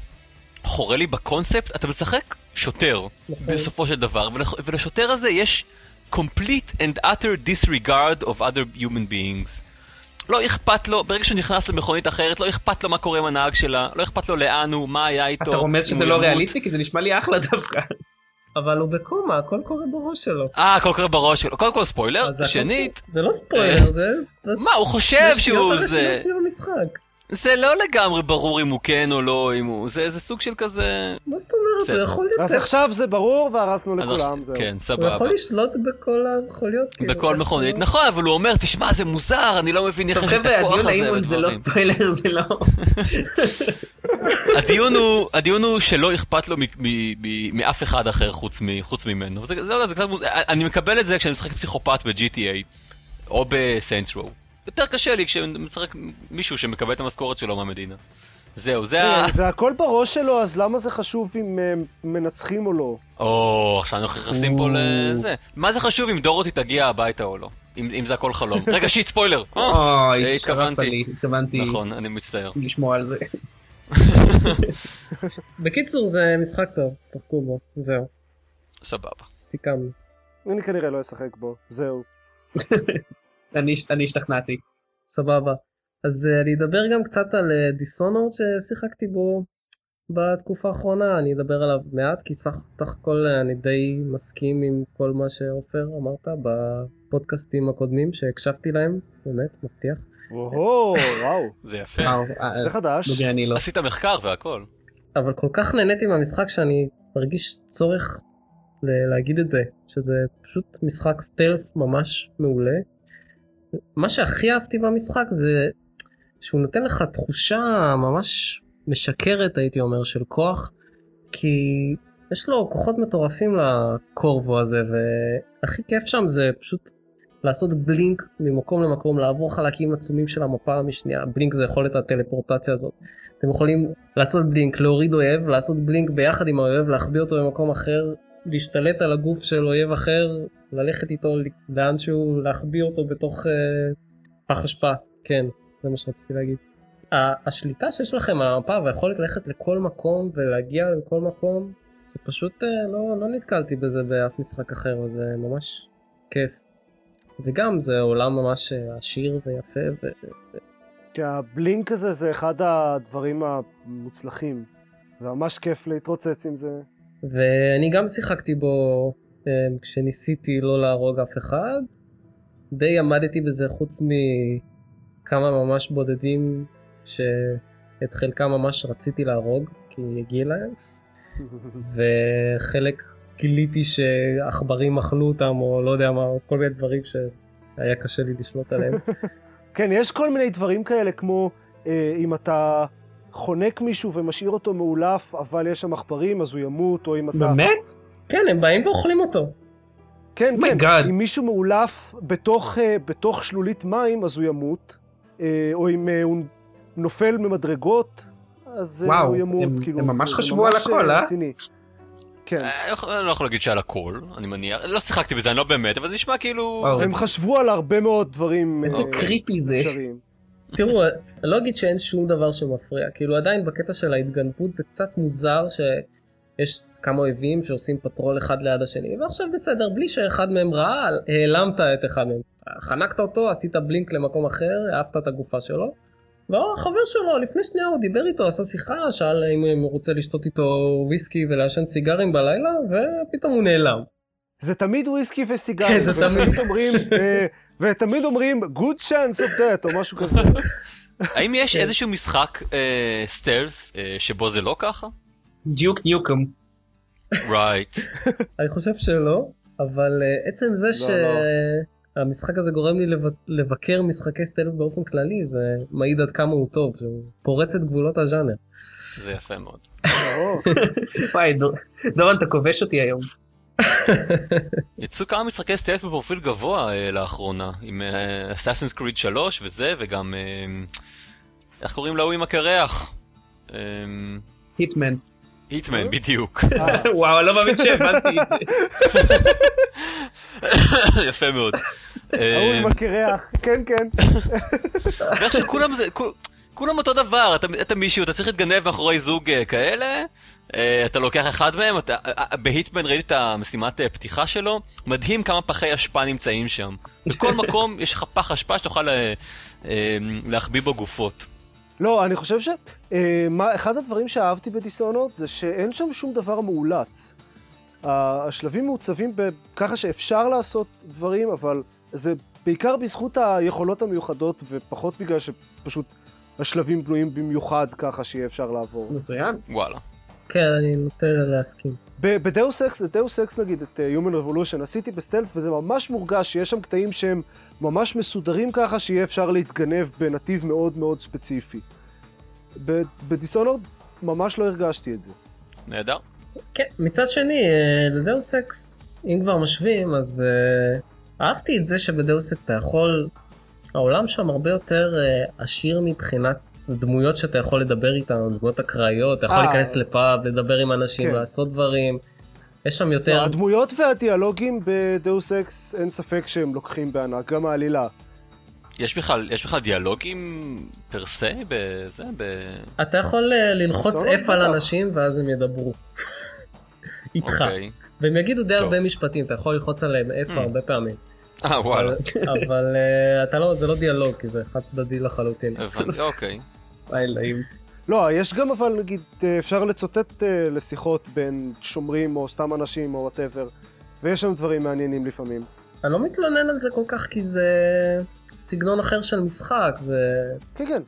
S2: חורה לי בקונספט, אתה משחק שוטר,
S3: נכון.
S2: בסופו של דבר, ולח- ולשוטר הזה יש complete and utter disregard of other human beings. לא אכפת לו, ברגע שהוא נכנס למכונית אחרת, לא אכפת לו מה קורה עם הנהג שלה, לא אכפת לו לאן הוא, מה היה איתו.
S4: אתה רומז
S2: אם
S4: שזה
S2: הוא
S4: לא
S2: ימות.
S4: ריאליסטי? כי זה נשמע לי אחלה דווקא.
S3: אבל הוא בקומה, הכל קורה בראש שלו.
S2: אה, הכל קורה בראש שלו. קודם כל ספוילר,
S3: אז זה הכל-
S2: שנית, אה,
S3: זה לא ספוילר, זה...
S2: מה, הוא חושב שהוא
S3: זה... שניות
S2: זה...
S3: הראשונות של המשחק.
S2: זה לא לגמרי ברור אם הוא כן או לא, אם הוא... זה זה סוג של כזה...
S3: מה זאת אומרת?
S2: בסדר.
S3: הוא יכול להיות...
S1: אז עכשיו זה ברור והרסנו
S2: אני לא-
S1: לכולם, זהו.
S2: כן,
S3: הוא
S2: סבבה.
S3: יכול לשלוט בכל המכוניות. כאילו,
S2: בכל
S3: זה
S2: מכונית.
S3: לא-
S2: נכון, אבל הוא אומר, תשמע, זה מוזר, אני לא מבין איך
S4: טוב
S2: יש את
S4: חבר'ה,
S2: הכוח
S4: הדיון
S2: הזה.
S4: האם זה לא
S2: ודברים."
S4: ספוילר, זה לא...
S2: הדיון הוא- הדיון הוא שלא אכפת לו מ- מ- מ- מאף אחד אחר חוץ מ- חוץ ממנו. זה זה- זה קצת מוזר. אני מקבל את זה כשאני משחק פסיכופת ב-GTA, או בסיינס רו. יותר קשה לי כשאני משחק מישהו שמקבל את המשכורת שלו מהמדינה. זהו, זה ה...
S1: אה, זה הכל בראש שלו, אז למה זה חשוב אם אה, מנצחים או לא?
S2: או, עכשיו אנחנו נכנסים פה לזה. מה זה חשוב אם דורותי תגיע הביתה או לא? אם אם זה הכל חלום. רגע, שיט, ספוילר. אה,
S4: אוי,
S2: אה,
S4: שרפת
S2: התכוונתי.
S4: לי, התכוונתי
S2: נכון, אני מצטער.
S4: לשמוע על זה.
S3: בקיצור, זה משחק טוב, צחקו בו, זהו,
S2: סבבה.
S3: סיכמנו.
S1: אני כנראה לא אשחק בו, זהו.
S4: אני אני השתכנעתי.
S3: סבבה. אז אה, אני אדבר גם קצת על דיסונורד אה, ששיחקתי בו. בתקופה האחרונה, אני אדבר עליו מעט, כי סך סך הכל אה, אני די מסכים עם כל מה שעופר אמרת בפודקאסטים הקודמים שהקשבתי להם, באמת, מבטיח.
S1: וואו, וואו,
S2: כן. זה יפה.
S4: וואו,
S1: זה חדש.
S4: נוגע אני לא.
S2: עשית מחקר והכל.
S3: אבל כל כך נהניתי מהמשחק שאני מרגיש צורך ל- להגיד את זה, שזה פשוט משחק סטלף ממש מעולה. מה שהכי אהבתי במשחק זה שהוא נותן לך תחושה ממש משקרת הייתי אומר של כוח, כי יש לו כוחות מטורפים לקורבו הזה, והכי כיף שם זה פשוט לעשות בלינק ממקום למקום, לעבור חלקים עצומים של המפה משנייה, בלינק זה יכולת הטלפורטציה הזאת. אתם יכולים לעשות בלינק, להוריד אויב, לעשות בלינק ביחד עם האויב, להחביא אותו במקום אחר, להשתלט על הגוף של אויב אחר, ללכת איתו לאן שהוא, להחביא אותו בתוך אה, פח אשפה, כן, זה מה שרציתי להגיד. ה- השליטה שיש לכם על המפה והיכולת ללכת לכל מקום ולהגיע לכל מקום, זה פשוט, אה, לא, לא נתקלתי בזה באף משחק אחר, וזה ממש כיף. וגם זה עולם ממש אה, עשיר ויפה, ו-
S1: כי הבלינק הזה זה אחד הדברים המוצלחים. וממש כיף להתרוצץ עם זה.
S3: ואני גם שיחקתי בו אה, כשניסיתי לא להרוג אף אחד. די עמדתי בזה חוץ מכמה ממש בודדים שאת חלקם ממש רציתי להרוג כי הגיע להם וחלק גיליתי שעכברים אכלו אותם או לא יודע מה כל מיני דברים שהיה קשה לי לשלוט עליהם.
S1: כן, יש כל מיני דברים כאלה, כמו אה, אם אתה חונק מישהו ומשאיר אותו מאולף, אבל יש שם עכברים, אז הוא ימות, או אם אתה...
S4: באמת?
S3: כן הם באים ואוכלים אותו.
S1: כן,
S4: Oh my
S1: כן.
S4: God.
S1: אם מישהו מאולף בתוך, אה, בתוך שלולית מים, אז הוא ימות. אה, או אם אה, הוא נופל ממדרגות, אז אה,
S4: וואו,
S1: הוא ימות.
S4: הם-
S1: כאילו,
S4: הם ממש
S1: זה-
S4: חשבו על
S1: זה ממש
S4: הכל,
S1: אה,
S4: אה?
S1: רציני. כן.
S2: אה, אני לא יכול להגיד שעל הכל, אני מניח. לא שיחקתי בזה, אני לא באמת, אבל זה נשמע כאילו...
S4: וואו.
S1: הם חשבו על הרבה מאוד דברים
S4: איזה
S1: אה,
S3: אוקיי.
S4: קריפי זה.
S1: אפשריים.
S3: תראו, אני לא אגיד שאין שום דבר שמפריע, כאילו עדיין בקטע של ההתגנבות זה קצת מוזר שיש כמה אויבים שעושים פטרול אחד ליד השני, ועכשיו בסדר, בלי שאחד מהם ראה, העלמת את אחד מהם. חנקת אותו, עשית בלינק למקום אחר, העפת את הגופה שלו, והחבר שלו, לפני שנייה הוא דיבר איתו, עשה שיחה, שאל אם הוא רוצה לשתות איתו וויסקי ולעשן סיגרים בלילה, ופתאום הוא נעלם.
S1: זה תמיד וויסקי וסיגרים,
S3: כן, זה
S1: ותמיד
S3: תמיד.
S1: אומרים, אה, ותמיד אומרים, good chance of death, או משהו כזה.
S2: האם יש
S3: כן.
S2: איזשהו משחק אה, סטלף אה, שבו זה לא ככה?
S4: דיוק ניוקם.
S2: רייט.
S3: אני חושב שלא, אבל אה, עצם זה
S1: לא.
S3: שהמשחק הזה גורם לי לב- לבקר משחקי סטלף באופן כללי, זה מעיד עד כמה הוא טוב, שהוא פורץ את גבולות הז'אנר.
S2: זה יפה מאוד.
S1: ברור.
S4: וואי, דור- דורון, אתה כובש אותי היום.
S2: יצאו כמה משחקי סטלס בפרופיל גבוה אה, לאחרונה, עם אה, אסאסינס קריד 3 וזה, וגם... אה, איך קוראים להוא עם הקרח?
S4: היטמן.
S2: היטמן, בדיוק.
S1: אה,
S4: וואו, אני לא מאמין שהבנתי את זה.
S2: יפה מאוד.
S1: ההוא
S2: אה,
S1: עם הקרח, כן, כן.
S2: ואיך שכולם זה, כו- כולם אותו דבר, אתה, אתה מישהו, אתה צריך להתגנב מאחורי זוג אה, כאלה, אה, אתה לוקח אחד מהם, אתה, אה, אה, בהיטמן ראיתי את המשימת אה, פתיחה שלו, מדהים כמה פחי אשפה נמצאים שם. בכל מקום יש לך פח אשפה שתוכל אה, אה, להחביא בו גופות.
S1: לא, אני חושב ש... אה, מה, אחד הדברים שאהבתי בדיסאונות זה שאין שם שום דבר מאולץ. ה- השלבים מעוצבים ב- ככה שאפשר לעשות דברים, אבל זה בעיקר בזכות היכולות המיוחדות, ופחות בגלל שפשוט השלבים בנויים במיוחד ככה שיהיה אפשר לעבור.
S4: מצוין.
S2: וואלה.
S3: כן, אני נוטה להסכים.
S1: ב- בדאוס אקס, דאוס אקס נגיד, את אה, Human Revolution, עשיתי בסטלט וזה ממש מורגש שיש שם קטעים שהם ממש מסודרים ככה שיהיה אפשר להתגנב בנתיב מאוד מאוד ספציפי. ב- בדיסונורד ממש לא הרגשתי את זה.
S2: נהדר.
S3: כן, מצד שני, אה, לדאוס אקס, אם כבר משווים, אז אה, אהבתי את זה שבדאוס אקס אתה יכול, העולם שם הרבה יותר אה, עשיר מבחינת דמויות שאתה יכול לדבר איתן, דמויות אקראיות, אתה יכול
S1: אה.
S3: להיכנס לפאב, לדבר עם אנשים,
S1: כן.
S3: לעשות דברים. יש שם יותר...
S1: לא, הדמויות והדיאלוגים בדאוס אקס, אין ספק שהם לוקחים בענק, גם העלילה.
S2: יש בכלל, יש בכלל דיאלוגים פר סה בזה? ב...
S3: אתה יכול אה, ללחוץ
S1: סולו
S3: F על
S1: בטח.
S3: אנשים ואז הם ידברו. איתך.
S2: אוקיי.
S3: והם יגידו די
S2: טוב.
S3: הרבה משפטים, אתה יכול ללחוץ עליהם F
S2: Hmm.
S3: הרבה פעמים.
S2: אה, וואלה.
S3: אבל- אבל אה, אתה לא, זה לא דיאלוג, כי זה חד צדדי לחלוטין.
S2: הבנתי, אוקיי.
S4: וואי, אלוהים.
S1: לא, יש גם אבל, נגיד, אה, אפשר לצוטט אה, לשיחות בין שומרים או סתם אנשים או וואטאבר, ויש שם דברים מעניינים לפעמים.
S3: אני לא מתלונן על זה כל כך כי זה סגנון אחר של משחק, זה...
S1: כן, כן.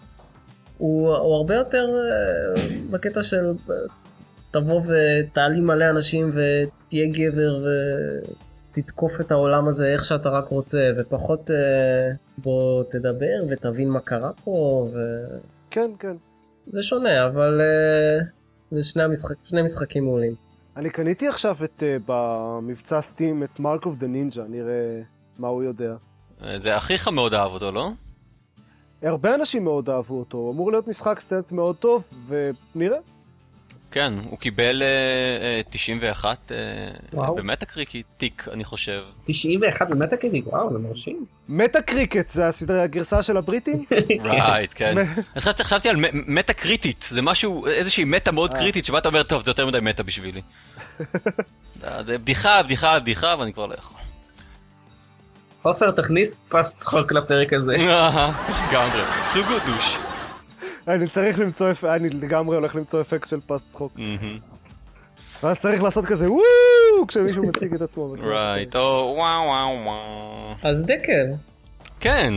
S3: הוא, הוא הרבה יותר אה, בקטע של אה, תבוא ותעלים מלא אנשים ותהיה גבר ותתקוף את העולם הזה איך שאתה רק רוצה, ופחות אה, בוא תדבר ותבין מה קרה פה, וזה
S1: כן, כן.
S3: שונה, אבל אה, זה שני, המשחק, שני משחקים מעולים.
S1: אני קניתי עכשיו את, אה, במבצע סטים את מרק אוף דה נינג'ה, נראה מה הוא יודע.
S2: אה, זה אחיך מאוד אהב אותו, לא?
S1: הרבה אנשים מאוד אהבו אותו, הוא אמור להיות משחק סטנט מאוד טוב, ונראה.
S2: כן, הוא קיבל אה, אה, 91 אה,
S4: וואו.
S2: במטה-קריקי תיק, אני חושב.
S4: 91 במטה קדימה, וואו, זה מרשים.
S1: מטה קריקט זה הסדרה, הגרסה של הבריטים?
S2: רייט, כן. אז חשבתי- חשבתי על מ- מטה קריטית, זה משהו, איזושהי מטה מאוד
S1: אה.
S2: קריטית, שבה אתה אומר, טוב, זה יותר מדי מטה בשבילי. אה, זה בדיחה, בדיחה, בדיחה, ואני כבר לא יכול.
S4: עופר, תכניס פס צחוק לפרק הזה.
S2: אה, לגמרי, סוג גודוש.
S1: אני צריך למצוא, אפ- אני לגמרי הולך למצוא אפקט של פס צחוק. ואז צריך לעשות כזה וואו כשמישהו מציג את עצמו.
S2: רייט, או וואו וואו וואו.
S3: אז דקל,
S2: כן,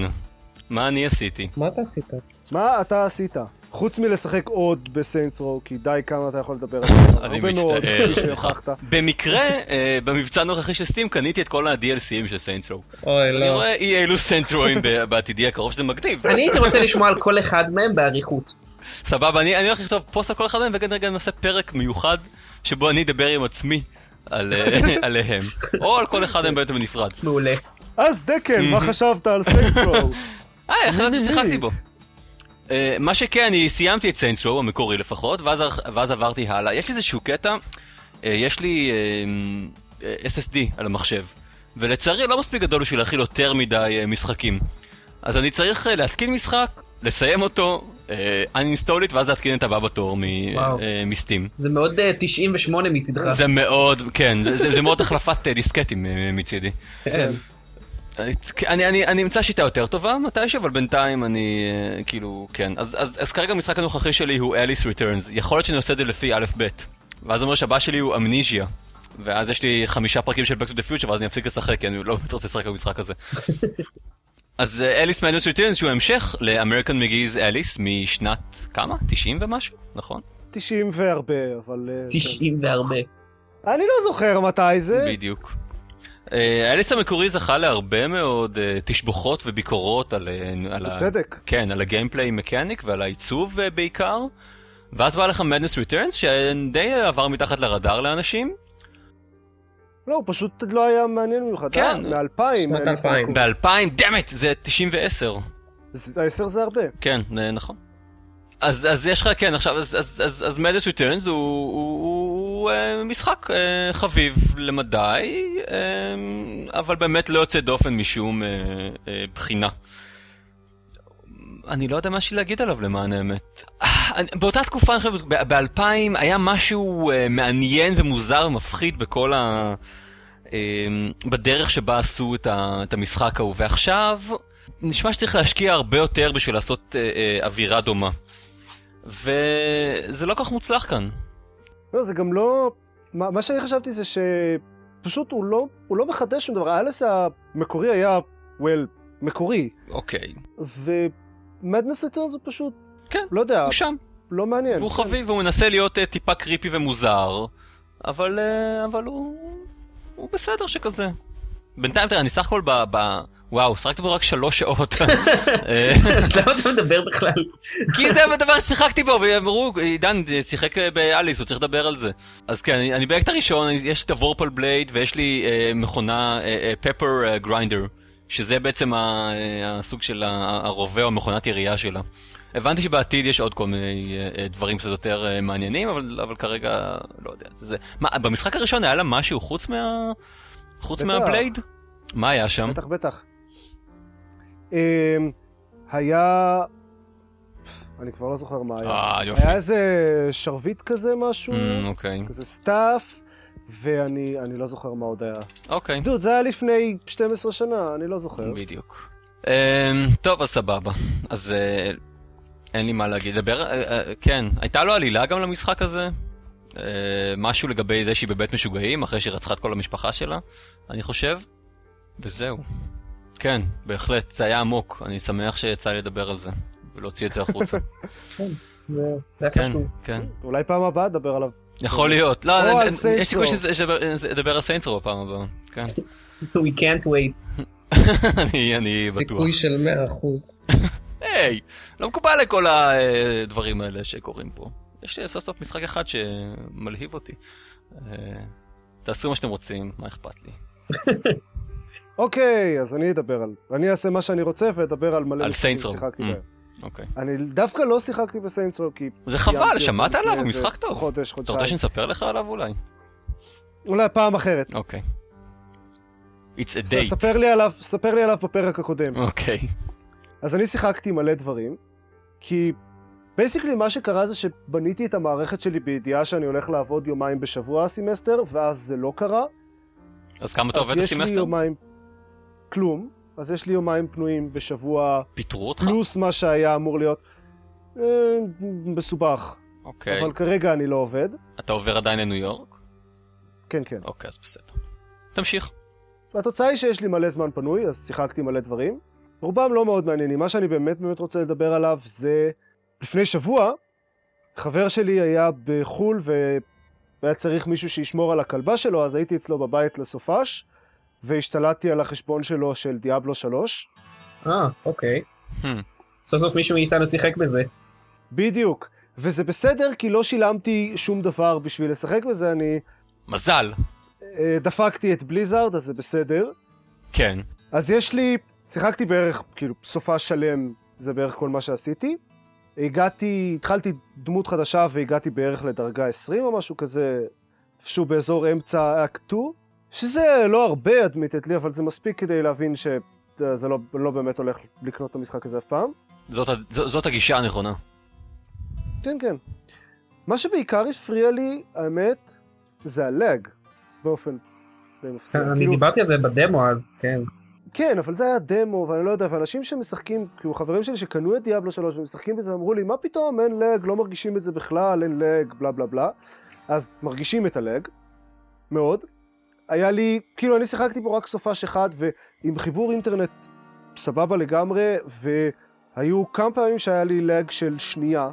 S2: מה אני עשיתי?
S3: מה אתה עשית?
S1: מה אתה עשית? חוץ מלשחק עוד בסיינס רו, כי די כמה אתה יכול לדבר על זה.
S2: אני
S1: הרבה מאוד,
S2: מצטער.
S1: כפי שהוכחת.
S2: במקרה, אה, במבצע הנוכחי של סטים קניתי את כל ה-DLCים של סיינטס רו.
S3: אוי
S2: אני
S3: לא,
S2: רואה אי אלו סיינטס רואים ב- בעתידי הקרוב שזה מגניב.
S4: אני הייתי רוצה לשמוע על כל אחד מהם באריכות.
S2: סבבה, אני, אני הולך לכתוב פוסט על כל אחד מהם, וכן רגע נעשה פרק מיוחד שבו אני אדבר עם עצמי על, אה, עליהם. או על כל אחד מהם באמת בנפרד.
S4: מעולה.
S1: אז דקל, מה חשבת על סיינס רו?
S2: אה, החלטתי ששיחקתי בו. אה, מה שכן, אני סיימתי את סיינס רו, המקורי לפחות, ואז, הר- ואז עברתי הלאה. יש איזשהו קטע, אה, יש לי אה, אה, SSD על המחשב, ולצערי לא מספיק גדול בשביל להכיל יותר מדי אה, משחקים. אז אני צריך אה, להתקין משחק, לסיים אותו, אה, uninstall it, ואז להתקין את הבא בתור מ-
S4: וואו.
S2: אה, מסטים.
S4: זה מאוד אה, 98 מצדך.
S2: זה מאוד, כן, זה- זה זה מאוד החלפת אה, דיסקטים אה, מצידי.
S4: כן.
S2: אני, אני, אני אמצא שיטה יותר טובה מתישהו, אבל בינתיים אני, אה, כאילו, כן. אז, אז, אז כרגע המשחק הנוכחי שלי הוא אליס ריטרנס. יכול להיות שאני עושה את זה לפי א' ב', ואז אומר שהבא שלי הוא אמניזיה. ואז יש לי חמישה פרקים של Back to the Future, ואז אני אפסיק לשחק, כי אני לא באמת רוצה לשחק במשחק הזה. אז אה, אליס מאניוס ריטרנס, שהוא המשך לאמריקן מגיז אליס משנת, כמה? 90 ומשהו? נכון?
S1: 90 והרבה, אבל... אה,
S4: 90 והרבה.
S1: כן. אני לא זוכר מתי זה.
S2: בדיוק. אה, אליס המקורי זכה להרבה מאוד אה, תשבוכות וביקורות על... אה, על ה-
S1: בצדק.
S2: כן, על הגיימפליי מקניק ועל העיצוב אה, בעיקר. ואז בא לך מדנס ריטרנס, שדי עבר מתחת לרדאר לאנשים.
S1: לא, הוא פשוט לא היה מעניין במיוחד.
S2: כן.
S1: אה, מ-2000.
S3: שנת 2000.
S1: כן.
S2: ב-2000, דאמת, זה 90 ו-10.
S1: העשר זה הרבה.
S2: כן, אה, נכון. אז, אז יש לך, כן, עכשיו, אז, אז, אז, אז מדס ריטרנס הוא, הוא, הוא, הוא אה, משחק אה, חביב למדי, אה, אבל באמת לא יוצא דופן משום אה, אה, בחינה. אני לא יודע מה יש לי להגיד עליו למען האמת. אה, אני- באותה תקופה, אני חושב, ב-2000 היה משהו אה, מעניין ומוזר ומפחיד בכל ה... אה, בדרך שבה עשו את, ה... את המשחק ההוא, ועכשיו נשמע שצריך להשקיע הרבה יותר בשביל לעשות אה, אה, אווירה דומה. וזה לא כל כך מוצלח כאן.
S1: לא, זה גם לא... מה, מה שאני חשבתי זה שפשוט הוא לא, הוא לא מחדש שום דבר. האלס המקורי היה, well, מקורי,
S2: אוקיי.
S1: ומדנס ריטרנס הוא פשוט,
S2: כן,
S1: לא יודע,
S2: הוא שם,
S1: לא מעניין.
S2: והוא חביב, והוא מנסה להיות אה, טיפה קריפי ומוזר, אבל, אה, אבל הוא, הוא בסדר שכזה. בינתיים, תראה, אני סך הכל ב... ב... וואו, שחקתי בו רק שלוש שעות. אה,
S4: אז למה אתה מדבר בכלל?
S2: כי זה הדבר ששיחקתי בו, ואמרו, עידן אה, שיחק באליס, הוא צריך לדבר על זה. אז כן, אני, אני באקט הראשון, אני- יש לי את הוורפל בלייד, ויש לי אה, מכונה פפר גריינדר, שזה בעצם ה, אה, הסוג של ה- הרובה או מכונת ירייה שלה. הבנתי שבעתיד יש עוד כל מיני אה, אה, דברים קצת יותר אה, מעניינים, אבל, אבל כרגע, לא יודע. זה, זה... מה, במשחק הראשון היה לה משהו חוץ מה... חוץ
S1: בטח.
S2: מהבלייד? מה היה שם?
S1: בטח, בטח. אמ, היה... אני כבר לא זוכר מה היה.
S2: אה, יופי.
S1: היה איזה שרביט כזה משהו,
S2: אמ, אוקיי,
S1: כזה סטאף, ואני אני לא זוכר מה עוד היה.
S2: אוקיי.
S1: דוד, זה היה לפני 12 שנה, אני לא זוכר.
S2: אמ, בדיוק. Um, טוב, אז סבבה. אז uh, אין לי מה להגיד. דבר, אה, אה, כן, הייתה לו עלילה גם למשחק הזה? אה, משהו לגבי זה שהיא בבית משוגעים אחרי שהיא רצחה את כל המשפחה שלה, אני חושב. וזהו. כן, בהחלט, זה היה עמוק. אני שמח שיצא לי לדבר על זה, ולהוציא את זה החוצה.
S4: זה זה היה
S2: כן,
S4: חשוב.
S2: כן.
S1: אולי פעם הבאה נדבר עליו.
S2: יכול להיות. לא,
S1: או
S2: אין-
S1: על
S2: אין-
S1: Saints
S2: יש סיכוי
S1: Row.
S2: שזה- שזה- שזה- לדבר על סיינטרו בפעם הבאה. כן.
S4: We can't wait.
S2: אני אני בטוח.
S3: סיכוי של 100%.
S2: היי, לא מקובל לכל הדברים האלה שקורים פה. יש סוף סוף משחק אחד שמלהיב אותי. אה, תעשו מה שאתם רוצים, מה אכפת לי.
S1: אוקיי, אז אני אדבר על... אני אעשה מה שאני רוצה ואדבר על מלא
S2: על
S1: משחקים
S2: Saints Row.
S1: ששיחקתי
S2: Mm.
S1: בהם.
S2: אוקיי.
S1: אני דווקא לא שיחקתי בסיינטסרו כי...
S2: זה
S1: סיימתי
S2: חבל,
S1: אותו
S2: שמעת
S1: לפני
S2: עליו? הוא
S1: איזה
S2: משחק טוב.
S1: חודש,
S2: אתה רוצה
S1: חודשיים.
S2: שנספר לך עליו אולי?
S1: אולי פעם אחרת.
S2: אוקיי. It's a
S1: ס-
S2: date.
S1: ספר לי עליו, ספר לי עליו בפרק הקודם.
S2: אוקיי.
S1: אז אני שיחקתי מלא דברים, כי בייסיקלי מה שקרה זה שבניתי את המערכת שלי בידיעה שאני הולך לעבוד יומיים בשבוע הסמסטר, ואז זה לא קרה.
S2: אז כמה אתה
S1: אז
S2: עובד
S1: יש לי
S2: בסמסטר?
S1: יומיים... כלום. אז יש לי יומיים פנויים בשבוע,
S2: פיטרו אותך?
S1: פלוס מה שהיה אמור להיות. אה, מסובך.
S2: אוקיי.
S1: אבל כרגע אני לא עובד.
S2: אתה עובר עדיין לניו יורק?
S1: כן, כן.
S2: אוקיי, אז בסדר. תמשיך.
S1: והתוצאה היא שיש לי מלא זמן פנוי, אז שיחקתי מלא דברים. רובם לא מאוד מעניינים. מה שאני באמת באמת רוצה לדבר עליו זה... לפני שבוע, חבר שלי היה בחו"ל והיה צריך מישהו שישמור על הכלבה שלו, אז הייתי אצלו בבית לסופש, והשתלטתי על החשבון שלו של דיאבלו 3.
S4: אה, אוקיי.
S2: Hmm.
S4: סוף סוף מישהו מאיתנו שיחק בזה.
S1: בדיוק. וזה בסדר, כי לא שילמתי שום דבר בשביל לשחק בזה, אני
S2: מזל.
S1: אה, דפקתי את בליזארד, אז זה בסדר.
S2: כן.
S1: אז יש לי, שיחקתי בערך, כאילו, סופה שלם, זה בערך כל מה שעשיתי. הגעתי, התחלתי דמות חדשה והגעתי בערך לדרגה 20 או משהו כזה, איפשהו באזור אמצע אקט 2, שזה לא הרבה, אדמיתת לי, אבל זה מספיק כדי להבין שזה לא, לא באמת הולך לקנות את המשחק הזה אף פעם.
S2: זאת ה- ז- זאת הגישה הנכונה.
S1: כן, כן. מה שבעיקר הפריע לי, האמת, זה הלאג, באופן די מפתיע. כאילו,
S4: אני דיברתי על זה בדמו אז, כן.
S1: כן, אבל זה היה דמו, ואני לא יודע, ואנשים שמשחקים, כאילו חברים שלי שקנו את דיאבלו 3 ומשחקים בזה, אמרו לי, מה פתאום, אין לג, לא מרגישים את זה בכלל, אין לג, בלה בלה בלה. אז מרגישים את הלג, מאוד. היה לי, כאילו, אני שיחקתי פה רק סופש אחד, ועם חיבור אינטרנט סבבה לגמרי, והיו כמה פעמים שהיה לי לג של שנייה,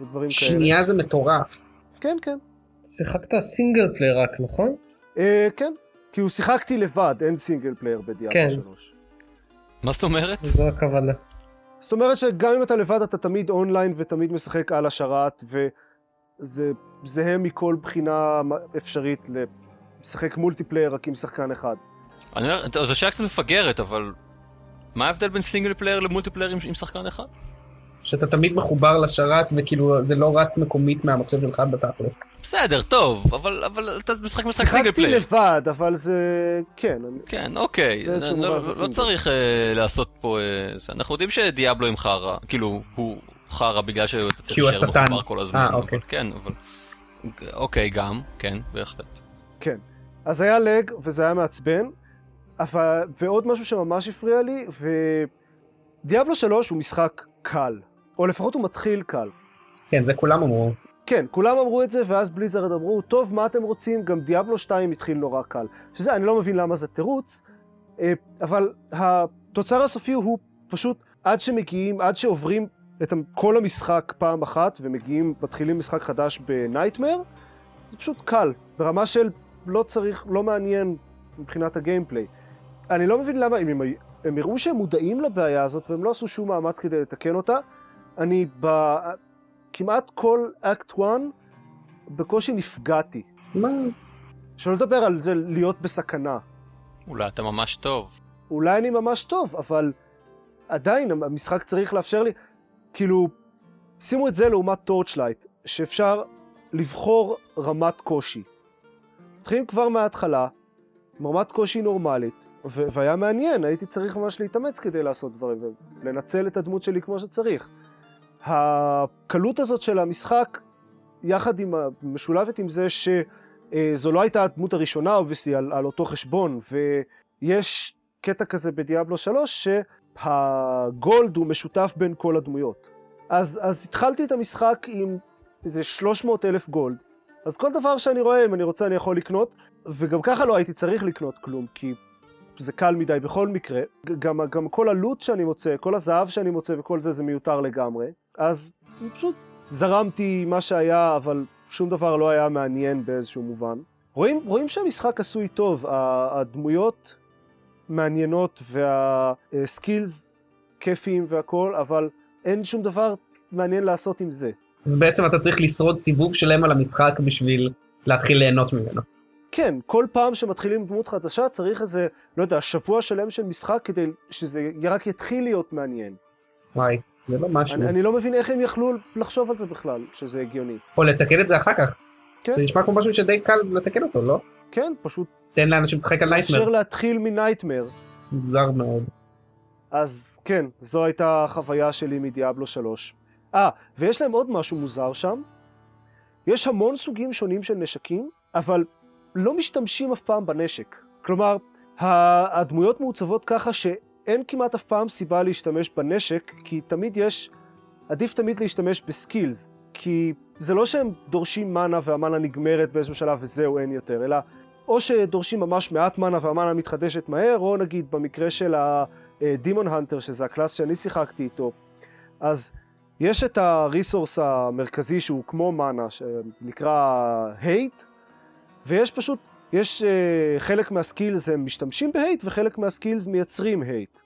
S1: ודברים כאלה.
S4: שנייה זה מטורף.
S1: כן, כן.
S3: שיחקת סינגל פליי רק, נכון?
S1: אה, כן. כאילו, שיחקתי לבד, אין סינגל פלייר בדיאבלו
S3: כן.
S1: 3.
S2: מה זאת אומרת?
S3: זו הכוונה.
S1: זאת אומרת שגם אם אתה לבד אתה תמיד אונליין ותמיד משחק על השרת וזה זהה מכל בחינה אפשרית לשחק מולטיפלייר רק עם שחקן אחד.
S2: אני אומר, טוב, זו שאלה קצת מפגרת, אבל מה ההבדל בין סינגל פלייר למולטיפלייר עם, עם שחקן אחד?
S4: שאתה תמיד מחובר לשרת וכאילו זה לא רץ מקומית מהמחשב שלך בתכלס.
S2: בסדר, טוב, אבל, אבל אתה משחק משחק סינגל
S1: שיחקתי
S2: פלייר.
S1: לבד אבל זה כן, אני...
S2: כן, אוקיי,
S1: באיזשהו
S2: לא,
S1: מובן
S2: לא,
S1: זה
S2: לא
S1: סינגל.
S2: צריך אה, לעשות פה... אה, זה. אנחנו יודעים שדיאבלו עם חרא, כאילו, הוא חרא בגלל שאתה צריך
S4: כי הוא
S2: להישאר
S4: השטן.
S2: מחובר כל הזמן.
S4: אה,
S2: אבל-
S4: אוקיי.
S2: כן, אבל... אוקיי, גם, כן, בהחלט.
S1: אז היה לג וזה היה מעצבן אבל... ועוד משהו שממש הפריע לי ודיאבלו 3 הוא משחק קל או לפחות הוא מתחיל קל.
S4: כן, זה כולם אמרו.
S1: כן, כולם אמרו את זה, ואז בליזרד אמרו, טוב, מה אתם רוצים? גם דיאבלו 2 התחיל נורא קל. שזה, אני לא מבין למה זה תירוץ, אה, אבל התוצר הסופי הוא פשוט, עד שמגיעים, עד שעוברים את המ- כל המשחק פעם אחת, ומגיעים, מתחילים משחק חדש בנייטמר, זה פשוט קל, ברמה של לא צריך, לא מעניין מבחינת הגיימפליי. אני לא מבין למה, אם הם, היו- הם הראו שהם מודעים לבעיה הזאת, והם לא עשו שום מאמץ כדי לתקן אותה, אני ב... כמעט כל אקט 1 בקושי נפגעתי.
S4: מה?
S1: שלא לדבר על זה להיות בסכנה.
S2: אולי אתה ממש טוב.
S1: אולי אני ממש טוב, אבל עדיין המשחק צריך לאפשר לי, כאילו, שימו את זה לעומת טורצ'לייט, שאפשר לבחור רמת קושי. מתחילים כבר מההתחלה, רמת קושי נורמלית, ו- והיה מעניין, הייתי צריך ממש להתאמץ כדי לעשות דברים, ולנצל את הדמות שלי כמו שצריך. הקלות הזאת של המשחק, יחד עם, ה- משולבת עם זה שזו לא הייתה הדמות הראשונה, אובייסי, על, על אותו חשבון, ויש קטע כזה בדיאבלו 3 שהגולד הוא משותף בין כל הדמויות. אז, אז התחלתי את המשחק עם איזה 300 אלף גולד. אז כל דבר שאני רואה, אם אני רוצה, אני יכול לקנות, וגם ככה לא הייתי צריך לקנות כלום, כי זה קל מדי בכל מקרה. ג- גם, גם כל הלוט שאני מוצא, כל הזהב שאני מוצא וכל זה, זה מיותר לגמרי. אז פשוט זרמתי מה שהיה, אבל שום דבר לא היה מעניין באיזשהו מובן. רואים, רואים שהמשחק עשוי טוב, ה- הדמויות מעניינות והסקילס כיפיים והכל, אבל אין שום דבר מעניין לעשות עם זה.
S4: אז בעצם אתה צריך לשרוד סיבוב שלם על המשחק בשביל להתחיל ליהנות ממנו.
S1: כן, כל פעם שמתחילים דמות חדשה צריך איזה, לא יודע, שבוע שלם של משחק כדי שזה רק יתחיל להיות מעניין.
S4: וואי, זה לא משהו.
S1: אני, אני לא מבין איך הם יכלו לחשוב על זה בכלל, שזה הגיוני.
S4: או לתקן את זה אחר כך.
S1: כן.
S4: זה נשמע כמו משהו שדי קל לתקן אותו, לא?
S1: כן, פשוט
S4: תן לאנשים לשחק על
S1: אפשר
S4: נייטמר.
S1: להתחיל מנייטמר.
S4: מוזר מאוד.
S1: אז כן, זו הייתה החוויה שלי מדיאבלו 3. אה, ויש להם עוד משהו מוזר שם. יש המון סוגים שונים של נשקים, אבל לא משתמשים אף פעם בנשק. כלומר, ה- הדמויות מעוצבות ככה שאין כמעט אף פעם סיבה להשתמש בנשק, כי תמיד יש... עדיף תמיד להשתמש בסקילס, כי זה לא שהם דורשים מנה והמנה נגמרת באיזשהו שלב וזהו, אין יותר, אלא או שדורשים ממש מעט מנה והמנה מתחדשת מהר, או נגיד במקרה של ה... דימון הנטר, אה, שזה הקלאס שאני שיחקתי איתו, אז יש את הריסורס המרכזי שהוא כמו מנה, שנקרא הייט, ויש פשוט, יש אה, חלק מהסקילס הם משתמשים בהייט, וחלק מהסקילס מייצרים הייט.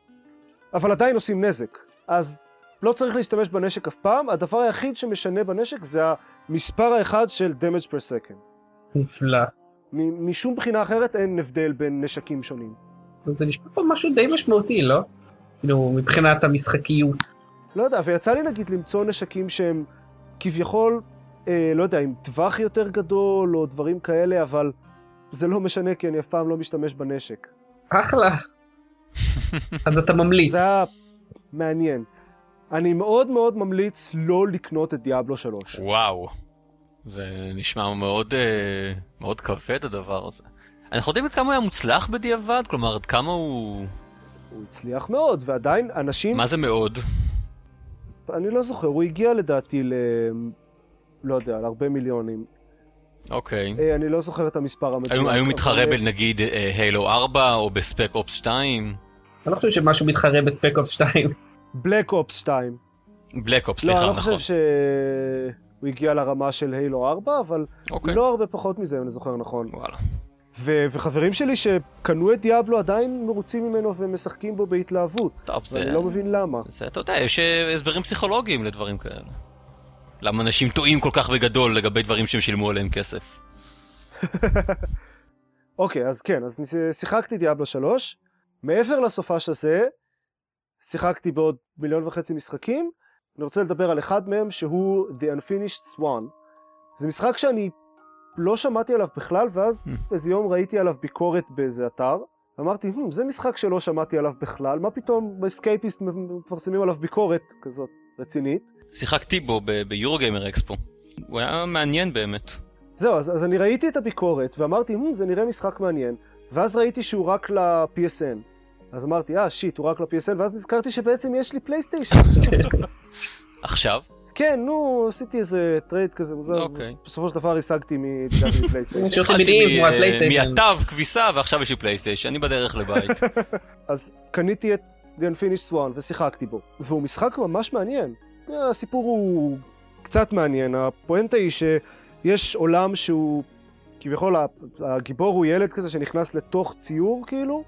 S1: אבל עדיין עושים נזק, אז לא צריך להשתמש בנשק אף פעם, הדבר היחיד שמשנה בנשק זה המספר האחד של damage per second.
S4: נפלא.
S1: מ- משום בחינה אחרת אין הבדל בין נשקים שונים.
S4: אז זה נשמע פה משהו די משמעותי, לא? כאילו, מבחינת המשחקיות.
S1: לא יודע, ויצא לי נגיד למצוא נשקים שהם כביכול, אה, לא יודע, עם טווח יותר גדול או דברים כאלה, אבל זה לא משנה כי אני אף פעם לא משתמש בנשק.
S4: אחלה. אז אתה ממליץ.
S1: זה היה מעניין. אני מאוד מאוד ממליץ לא לקנות את דיאבלו 3.
S2: וואו. זה נשמע מאוד, אה, מאוד כבד הדבר הזה. אנחנו יודעים עד כמה הוא היה מוצלח בדיעבד? כלומר, עד כמה הוא...
S1: הוא הצליח מאוד, ועדיין אנשים,
S2: מה זה מאוד?
S1: אני לא זוכר, הוא הגיע לדעתי ל... לא יודע, להרבה מיליונים.
S2: אוקיי.
S1: אה, אני לא זוכר את המספר המדויק.
S2: האם הוא
S1: אבל- אה,
S2: מתחרה בנגיד הילו 4 או בספק אופס 2?
S4: אני לא חושב שמשהו מתחרה בספק אופס 2.
S1: בלק אופס 2.
S2: בלק אופס,
S1: לא,
S2: סליחה,
S1: אני לא
S2: נכון.
S1: חושב שהוא הגיע לרמה של הילו 4, אבל
S2: אוקיי.
S1: לא הרבה פחות מזה, אם אני זוכר נכון.
S2: וואלה.
S1: ו- וחברים שלי שקנו את דיאבלו עדיין מרוצים ממנו ומשחקים בו בהתלהבות,
S2: טוב, זה...
S1: ואני לא מבין למה.
S2: זה, אתה יודע, יש אה, הסברים פסיכולוגיים לדברים כאלה. למה אנשים טועים כל כך בגדול לגבי דברים שהם שילמו עליהם כסף.
S1: אוקיי, אז כן, אז ניס- שיחקתי דיאבלו 3, מעבר לסופש הזה, שיחקתי בעוד מיליון וחצי משחקים, אני רוצה לדבר על אחד מהם שהוא The Unfinished Swan. זה משחק שאני לא שמעתי עליו בכלל, ואז איזה יום ראיתי עליו ביקורת באיזה אתר, אמרתי, "הם, זה משחק שלא שמעתי עליו בכלל, מה פתאום בסקייפיסט מפרסמים עליו ביקורת כזאת רצינית?
S2: שיחקתי בו ב- ביורוגיימר אקספו. הוא היה מעניין באמת.
S1: זהו, אז, אז אני ראיתי את הביקורת, ואמרתי, "הם, זה נראה משחק מעניין. ואז ראיתי שהוא רק ל-PSN. אז אמרתי, אה, שיט, הוא רק ל-PSN, ואז נזכרתי שבעצם יש לי פלייסטיישן עכשיו.
S2: עכשיו?
S1: כן, נו, עשיתי איזה טרייד כזה מוזר.
S2: אוקיי.
S1: בסופו של דבר השגתי מדאגתי מפלייסטיישן.
S4: שירותים
S2: התחלתי
S4: מידיים
S2: מ- אה,
S4: כמו הפלייסטיישן.
S2: מעטב כביסה ועכשיו יש לי פלייסטיישן, אני בדרך לבית.
S1: אז קניתי את The Unfinished Swan ושיחקתי בו. והוא משחק ממש מעניין. הסיפור הוא קצת מעניין. הפואנטה היא שיש עולם שהוא, כביכול ה- הגיבור הוא ילד כזה שנכנס לתוך ציור כאילו,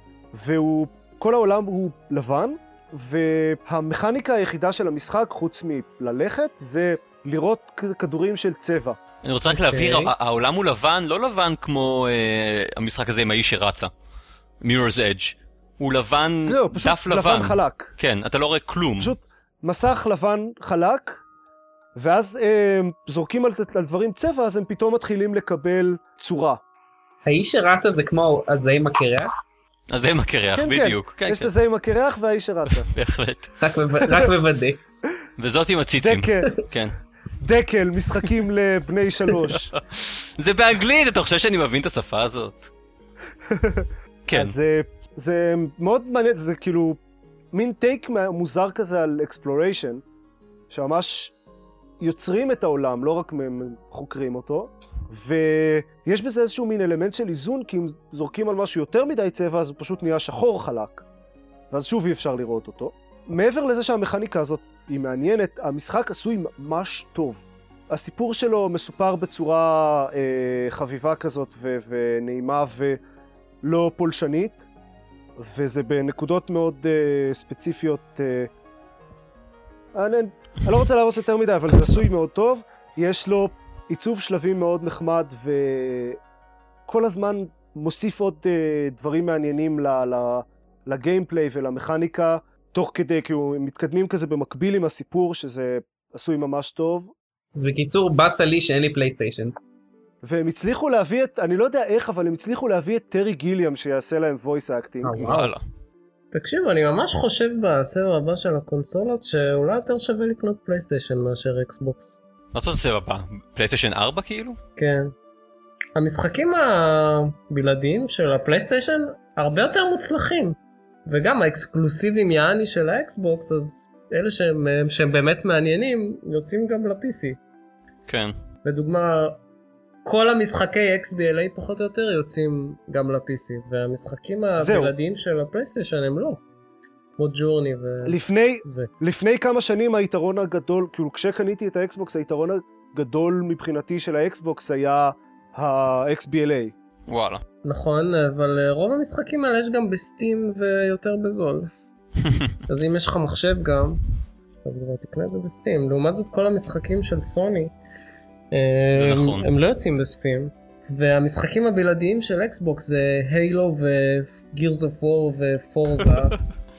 S1: והוא, כל העולם הוא לבן, והמכניקה היחידה של המשחק, חוץ מללכת, זה לירות כ- כדורים של צבע.
S2: אני רוצה רק
S4: אוקיי.
S2: להבהיר, ה- העולם הוא לבן, לא לבן כמו אה, המשחק הזה עם האיש שרצה. מירור's Edge. הוא לבן,
S1: זהו, פשוט
S2: דף
S1: לבן חלק.
S2: כן, אתה לא רואה כלום.
S1: פשוט מסך לבן חלק, ואז אה, זורקים על, זה, על דברים צבע, אז הם פתאום מתחילים לקבל צורה.
S4: האיש שרצה זה כמו הזה עם הקרח,
S2: אז זה עם הקרח,
S1: כן, כן.
S2: בדיוק. כן,
S1: יש
S2: כן,
S1: את זה עם הקרח והאיש שרצה.
S2: בהחלט.
S4: רק מב- רק מוודא.
S2: וזאת עם הציצים,
S1: דקל,
S2: כן.
S1: דקל, משחקים לבני שלוש.
S2: זה באנגלית, אתה חושב שאני מבין את השפה הזאת? כן,
S1: אז אה, זה מאוד מעניין, זה כאילו מין טייק מוזר כזה על אקספלוריישן, שממש יוצרים את העולם, לא רק מ- מ- חוקרים אותו, ויש בזה איזשהו מין אלמנט של איזון, כי אם זורקים על משהו יותר מדי צבע, אז הוא פשוט נהיה שחור חלק, ואז שוב אי אפשר לראות אותו. מעבר לזה שהמכניקה הזאת היא מעניינת, המשחק עשוי ממש טוב. הסיפור שלו מסופר בצורה אה, חביבה כזאת ו- ונעימה ולא לא פולשנית, וזה בנקודות מאוד אה, ספציפיות. אה, אני, אני לא רוצה להרוס יותר מדי, אבל זה עשוי מאוד טוב. יש לו עיצוב שלבים מאוד נחמד, וכל הזמן מוסיף עוד אה, דברים מעניינים ל- ל- לגיימפליי ולמכניקה, תוך כדי, כאילו, הם מתקדמים כזה במקביל עם הסיפור, שזה עשוי ממש טוב.
S4: אז בקיצור, באסה לי שאין לי פלייסטיישן.
S1: והם הצליחו להביא את, אני לא יודע איך, אבל הם הצליחו להביא את טרי גיליאם שיעשה להם voice acting.
S2: וואלה.
S3: תקשיב, אני ממש חושב בסבב הבא של הקונסולות שאולי יותר שווה לקנות פלייסטיישן מאשר אקסבוקס.
S2: מה זה הסבב הבא? פלייסטיישן 4 כאילו?
S3: כן. המשחקים הבלעדיים של הפלייסטיישן הרבה יותר מוצלחים. וגם האקסקלוסיבים יעני של האקסבוקס, אז אלה שהם, שהם באמת מעניינים יוצאים גם ל-PC.
S2: כן.
S3: לדוגמה, כל המשחקי XBLA פחות או יותר יוצאים גם ל-PC, והמשחקים
S1: זהו.
S3: הבלעדיים של הפלייסטיישן הם לא. כמו ג'ורני
S1: לפני,
S3: וזה.
S1: לפני כמה שנים היתרון הגדול, כאילו כשקניתי את האקסבוקס, היתרון הגדול מבחינתי של האקסבוקס היה ה-XBLA.
S2: וואלה.
S3: נכון, אבל אה, רוב המשחקים האלה יש גם בסטים ויותר בזול. אז אם יש לך מחשב גם, אז כבר תקנה את זה בסטים. לעומת זאת כל המשחקים של סוני, אה,
S2: זה
S3: הם,
S2: נכון.
S3: הם לא יוצאים בסטים. והמשחקים הבלעדיים של אקסבוקס זה הילו וגירס אוף וור ופורזה.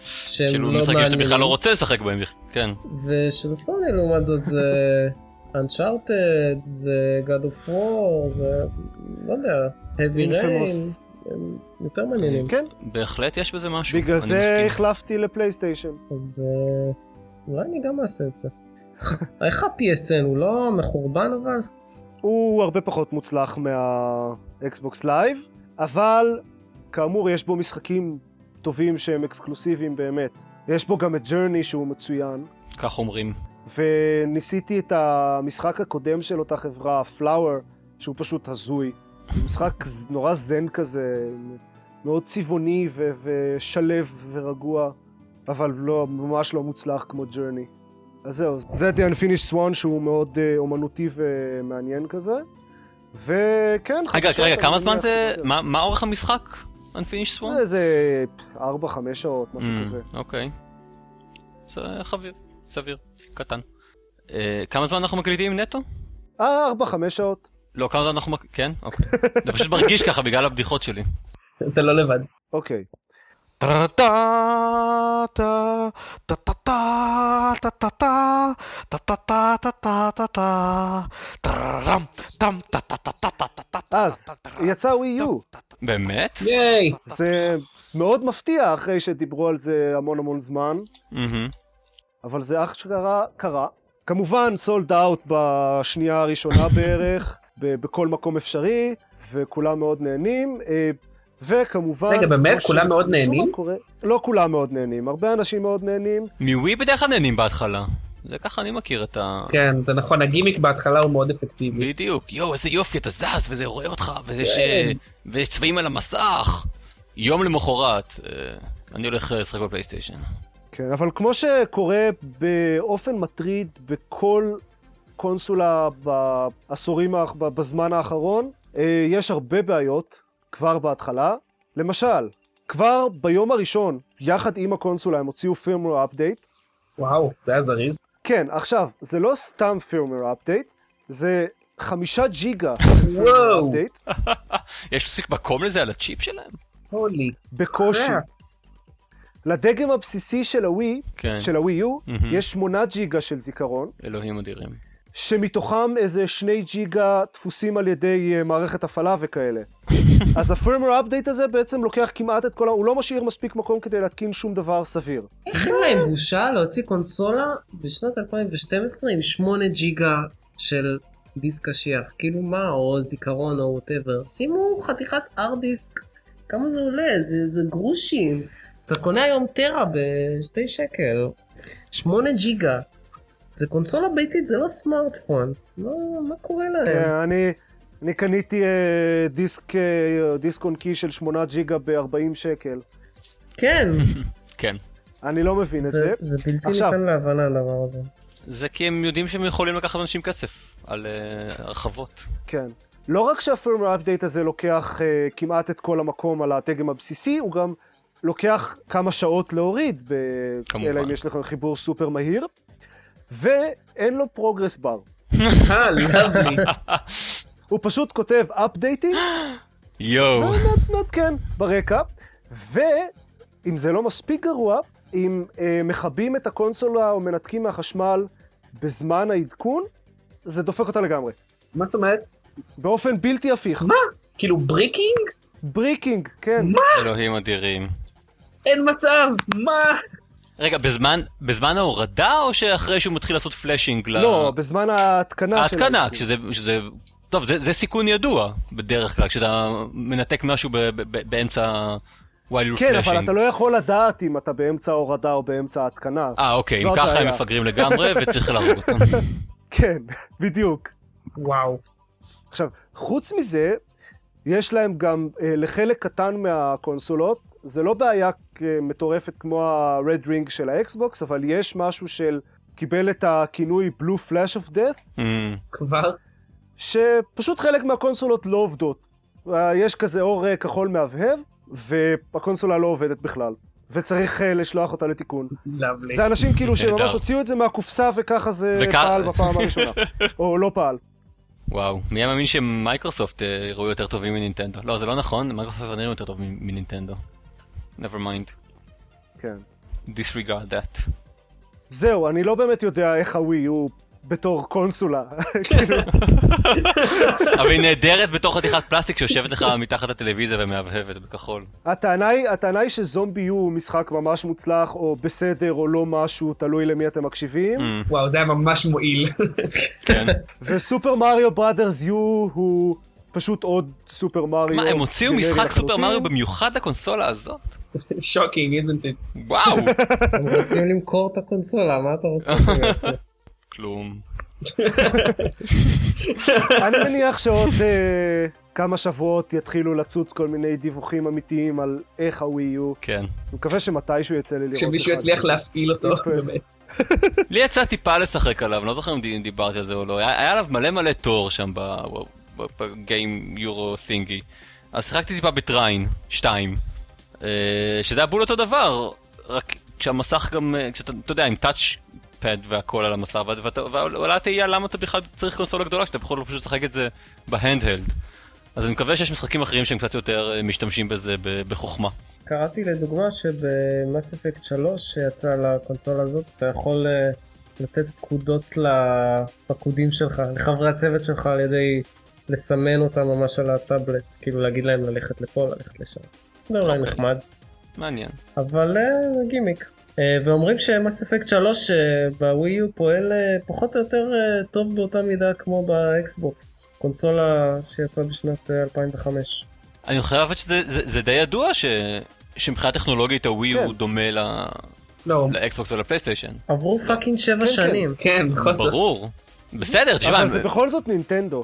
S3: שהם
S2: כאילו
S3: לא
S2: משחקים שאתה בכלל
S3: מעניינים.
S2: לא רוצה לשחק בהם. כן.
S3: ושל סוני לעומת זאת זה Uncharted, זה God of War, זה לא יודע, Heavy Rain,
S1: אינפמוס.
S3: הם יותר מעניינים.
S1: כן,
S2: בהחלט יש בזה משהו.
S1: בגלל
S2: אני
S1: זה
S2: מסכים.
S1: החלפתי לפלייסטיישן.
S3: אז אה, אולי אני גם אעשה את זה. איך ה-PSN הוא לא מחורבן אבל?
S1: הוא הרבה פחות מוצלח מהאקסבוקס לייב, אבל כאמור יש בו משחקים טובים שהם אקסקלוסיביים באמת. יש בו גם את ג'רני שהוא מצוין,
S2: כך אומרים.
S1: וניסיתי את המשחק הקודם של אותה חברה, פלאואר, שהוא פשוט הזוי. הוא משחק ז- נורא זן כזה, מאוד צבעוני ו- ושלב ורגוע, אבל לא, ממש לא מוצלח כמו ג'רני. אז זהו, זה The Unfinished Swan שהוא מאוד אה, אומנותי ומעניין כזה. וכן,
S2: רגע,
S1: חדשות,
S2: רגע,
S1: אני
S2: כמה
S1: מניח,
S2: זמן זה...
S1: אתה יודע.
S2: מה מה אורך המשחק? Unfinished Swan?
S1: איזה 4-5 שעות, משהו
S2: Mm,
S1: כזה.
S2: אוקיי. זה חביר, סביר, קטן. אה, כמה זמן אנחנו מקליטים נטו?
S1: אה, 4-5 שעות.
S2: לא, כמה זמן אנחנו... מק- כן? אוקיי. זה פשוט מרגיש ככה בגלל הבדיחות שלי.
S4: אתה לא לבד.
S1: אוקיי. אז, יצא ווי יו.
S2: באמת?
S4: ייי!
S1: זה מאוד מפתיע אחרי שדיברו על זה המון המון זמן,
S2: מהמם.
S1: אבל זה אשכרה קרה. כמובן, סולד אאוט בשנייה הראשונה בערך, ב- בכל מקום אפשרי, וכולם מאוד נהנים. אה, וכמובן...
S4: רגע, באמת?
S1: כמו ש-
S4: כולם מאוד
S1: משום מה
S4: נהנים?
S1: קורה- לא כולם מאוד נהנים, הרבה אנשים מאוד נהנים.
S2: מווי בדרך כלל נהנים בהתחלה. זה ככה אני מכיר את ה...
S4: כן, זה נכון, הגימיק בהתחלה הוא מאוד אפקטיבי.
S2: בדיוק. יואו, איזה יופי, אתה זז, וזה רואה אותך, ויש אה,
S1: כן.
S2: ויש צבעים על המסך. יום למחרת, אה, אני הולך אה, לשחק בפלייסטיישן.
S1: כן, אבל כמו שקורה באופן מטריד בכל קונסולה בעשורים, האח- ב- בזמן האחרון, אה, יש הרבה בעיות כבר בהתחלה. למשל, כבר ביום הראשון, יחד עם הקונסולה, הם הוציאו פירמור אפדייט.
S4: וואו, זה היה זריז.
S1: כן, עכשיו, זה לא סתם פירמור אפדייט, זה חמישה ג'יגה של פירמור
S4: וואו.
S1: אפדייט,
S2: יש מספיק מקום לזה על הצ'יפ שלהם?
S4: הולי.
S1: בקושי. לדגם הבסיסי של הווי,
S2: כן.
S1: של הווי יו,
S2: מהמם.
S1: יש שמונה ג'יגה של זיכרון.
S2: אלוהים אדירים.
S1: שמתוכם איזה שני ג'יגה תפוסים על ידי אה, מערכת הפעלה וכאלה. אז הפרמר אפדייט הזה בעצם לוקח כמעט את כל ה... הוא לא משאיר מספיק מקום כדי להתקין שום דבר סביר.
S3: אין להם בושה להוציא קונסולה בשנת 2012 עם 8 ג'יגה של דיסק קשיח, כאילו מה, או זיכרון או ווטאבר. שימו חתיכת ארד דיסק, כמה זה עולה? זה, זה גרושים. אתה קונה היום טרה בשתי שקל, 8 ג'יגה. זה קונסולה ביתית, זה לא סמארטפון. מה, מה קורה להם?
S1: כן, אני, אני קניתי אה, דיסק, אה, דיסק און קי של 8 ג'יגה ב-40 שקל.
S3: כן,
S2: כן.
S1: אני לא מבין את זה.
S3: זה- זה בלתי
S1: עכשיו.
S3: ניתן להבנה הדבר הזה.
S2: זה כי הם יודעים שהם יכולים לקחת אנשים כסף על אה, הרחבות.
S1: כן. לא רק שהפירמר אפדייט הזה לוקח אה, כמעט את כל המקום על הדגם הבסיסי, הוא גם לוקח כמה שעות להוריד, ב...
S2: כמובן.
S1: אלא אם יש לכם חיבור סופר מהיר, ואין לו פרוגרס בר.
S4: אה, לאבלי.
S1: הוא פשוט כותב אפדייטים,
S2: יואו.
S1: ומעדכן כן, ברקע, ואם זה לא מספיק גרוע, אם אה, מכבים את הקונסולה או מנתקים מהחשמל בזמן העדכון, זה דופק אותה לגמרי.
S4: מה זאת אומרת?
S1: באופן בלתי הפיך.
S4: מה? כאילו בריקינג?
S1: בריקינג, כן.
S2: אלוהים אדירים.
S4: אין מצב! מה?
S2: רגע, בזמן, בזמן ההורדה או שאחרי שהוא מתחיל לעשות פלאשינג? ל-
S1: לא, בזמן ההתקנה של...
S2: ההתקנה,
S1: העדכון.
S2: כשזה, שזה, טוב, זה, זה סיכון ידוע בדרך כלל, כשאתה מנתק משהו ב, ב, ב, באמצע ווילד
S1: כן,
S2: פלאשינג.
S1: אבל אתה לא יכול לדעת אם אתה באמצע ההורדה או באמצע ההתקנה.
S2: אה, אוקיי, אם
S1: לא- זאת
S2: ככה הם
S1: הבעיה.
S2: מפגרים לגמרי וצריך להרוג אותם.
S1: כן, בדיוק.
S4: וואו.
S1: עכשיו, חוץ מזה, יש להם גם, אה, לחלק קטן מהקונסולות, זה לא בעיה אה, מטורפת כמו ה-Red Ring של האקסבוקס, אבל יש משהו של, קיבל את הכינוי Blue Flash of Death,
S2: אמ,
S4: כבר?
S1: שפשוט חלק מהקונסולות לא עובדות. אה, יש כזה אור אה, כחול מהבהב, והקונסולה לא עובדת בכלל, וצריך אה, לשלוח אותה לתיקון.
S4: לאבלי.
S1: זה אנשים כאילו
S2: נהדר.
S1: שממש הוציאו את זה מהקופסה וככה זה
S2: וכ-
S1: פעל בפעם הראשונה. או לא פעל.
S2: וואו, מי היה מאמין שמייקרוסופט אה, יראו יותר טובים מנינטנדו? לא, זה לא נכון, מייקרוסופט נראו יותר טוב מ- מנינטנדו. never mind,
S1: כן.
S2: disregard that.
S1: זהו, אני לא באמת יודע איך הווי הוא בתור קונסולה. כאילו,
S2: אבל היא נהדרת בתור חתיכת פלסטיק שיושבת לך מתחת לטלוויזיה ומהבהבת בכחול.
S1: הטענה היא, הטענה היא שזומבי הוא משחק ממש מוצלח, או בסדר, או לא משהו, תלוי למי אתם מקשיבים.
S2: אמ,
S4: וואו, זה היה ממש מועיל.
S2: כן.
S1: וסופר מריו בראדרס יו הוא פשוט עוד סופר מריו.
S2: מה, הם הוציאו
S1: גנרי
S2: משחק
S1: לחלוטין.
S2: סופר מריו במיוחד לקונסולה הזאת?
S4: שוקינג, איזנט איט.
S2: וואו!
S3: הם רוצים למכור את הקונסולה, מה אתה רוצה שהם יעשו?
S2: כלום.
S1: אני מניח שעוד אה, כמה שבועות יתחילו לצוץ כל מיני דיווחים אמיתיים על איך הווי יו.
S2: כן.
S1: אני מקווה שמתישהו יצא לי לראות
S4: שמישהו
S1: אחד
S4: יצליח
S1: כזה.
S4: להפעיל אותו,
S1: In-person.
S4: באמת.
S2: לי יצא טיפה לשחק עליו, אני לא זוכר אם די- דיברתי על זה או לא. היה היה עליו מלא מלא תור שם ב- ב- בגיים יורו סינגי. אז שיחקתי טיפה בטריין, 2. שזה היה בול אותו דבר, רק כשהמסך גם, אה, כשאתה, אתה יודע, עם טאץ' פד והכל על המסך, ואת- ואתה- ועולה התהייה למה אתה בכלל צריך קונסולה גדולה, כשאתה בכל זאת פשוט לשחק את זה בהנדהלד. אז אני מקווה שיש משחקים אחרים שהם קצת יותר אה, משתמשים בזה ב- בחוכמה.
S3: קראתי לדוגמה שבמס אפקט 3 שיצא לקונסולה הזאת אתה יכול אה, לתת פקודות לפקודים שלך לחברי הצוות שלך על ידי לסמן אותם ממש על הטאבלט כאילו להגיד להם ללכת לפה ללכת לשם. זה אולי
S2: אוקיי.
S3: נחמד
S2: מעניין.
S3: אבל אה, זה גימיק. אה, ואומרים שמס אפקט 3 אה, בווי יו פועל אה, פחות או יותר אה, טוב באותה מידה כמו באקסבוקס קונסולה שיצאה בשנת אה, 2005.
S2: אני חייב שזה זה, זה די ידוע ש, שמבחינה טכנולוגית הווי
S1: כן.
S2: הוא דומה ל,
S4: לא.
S2: לאקסבוקס ולפלייסטיישן.
S3: עברו פאקינג 7
S1: כן.
S3: שנים.
S4: כן, בכל זאת.
S2: ברור. בסדר, תשמע,
S1: אבל
S2: הם-
S1: זה בכל זאת נינטנדו.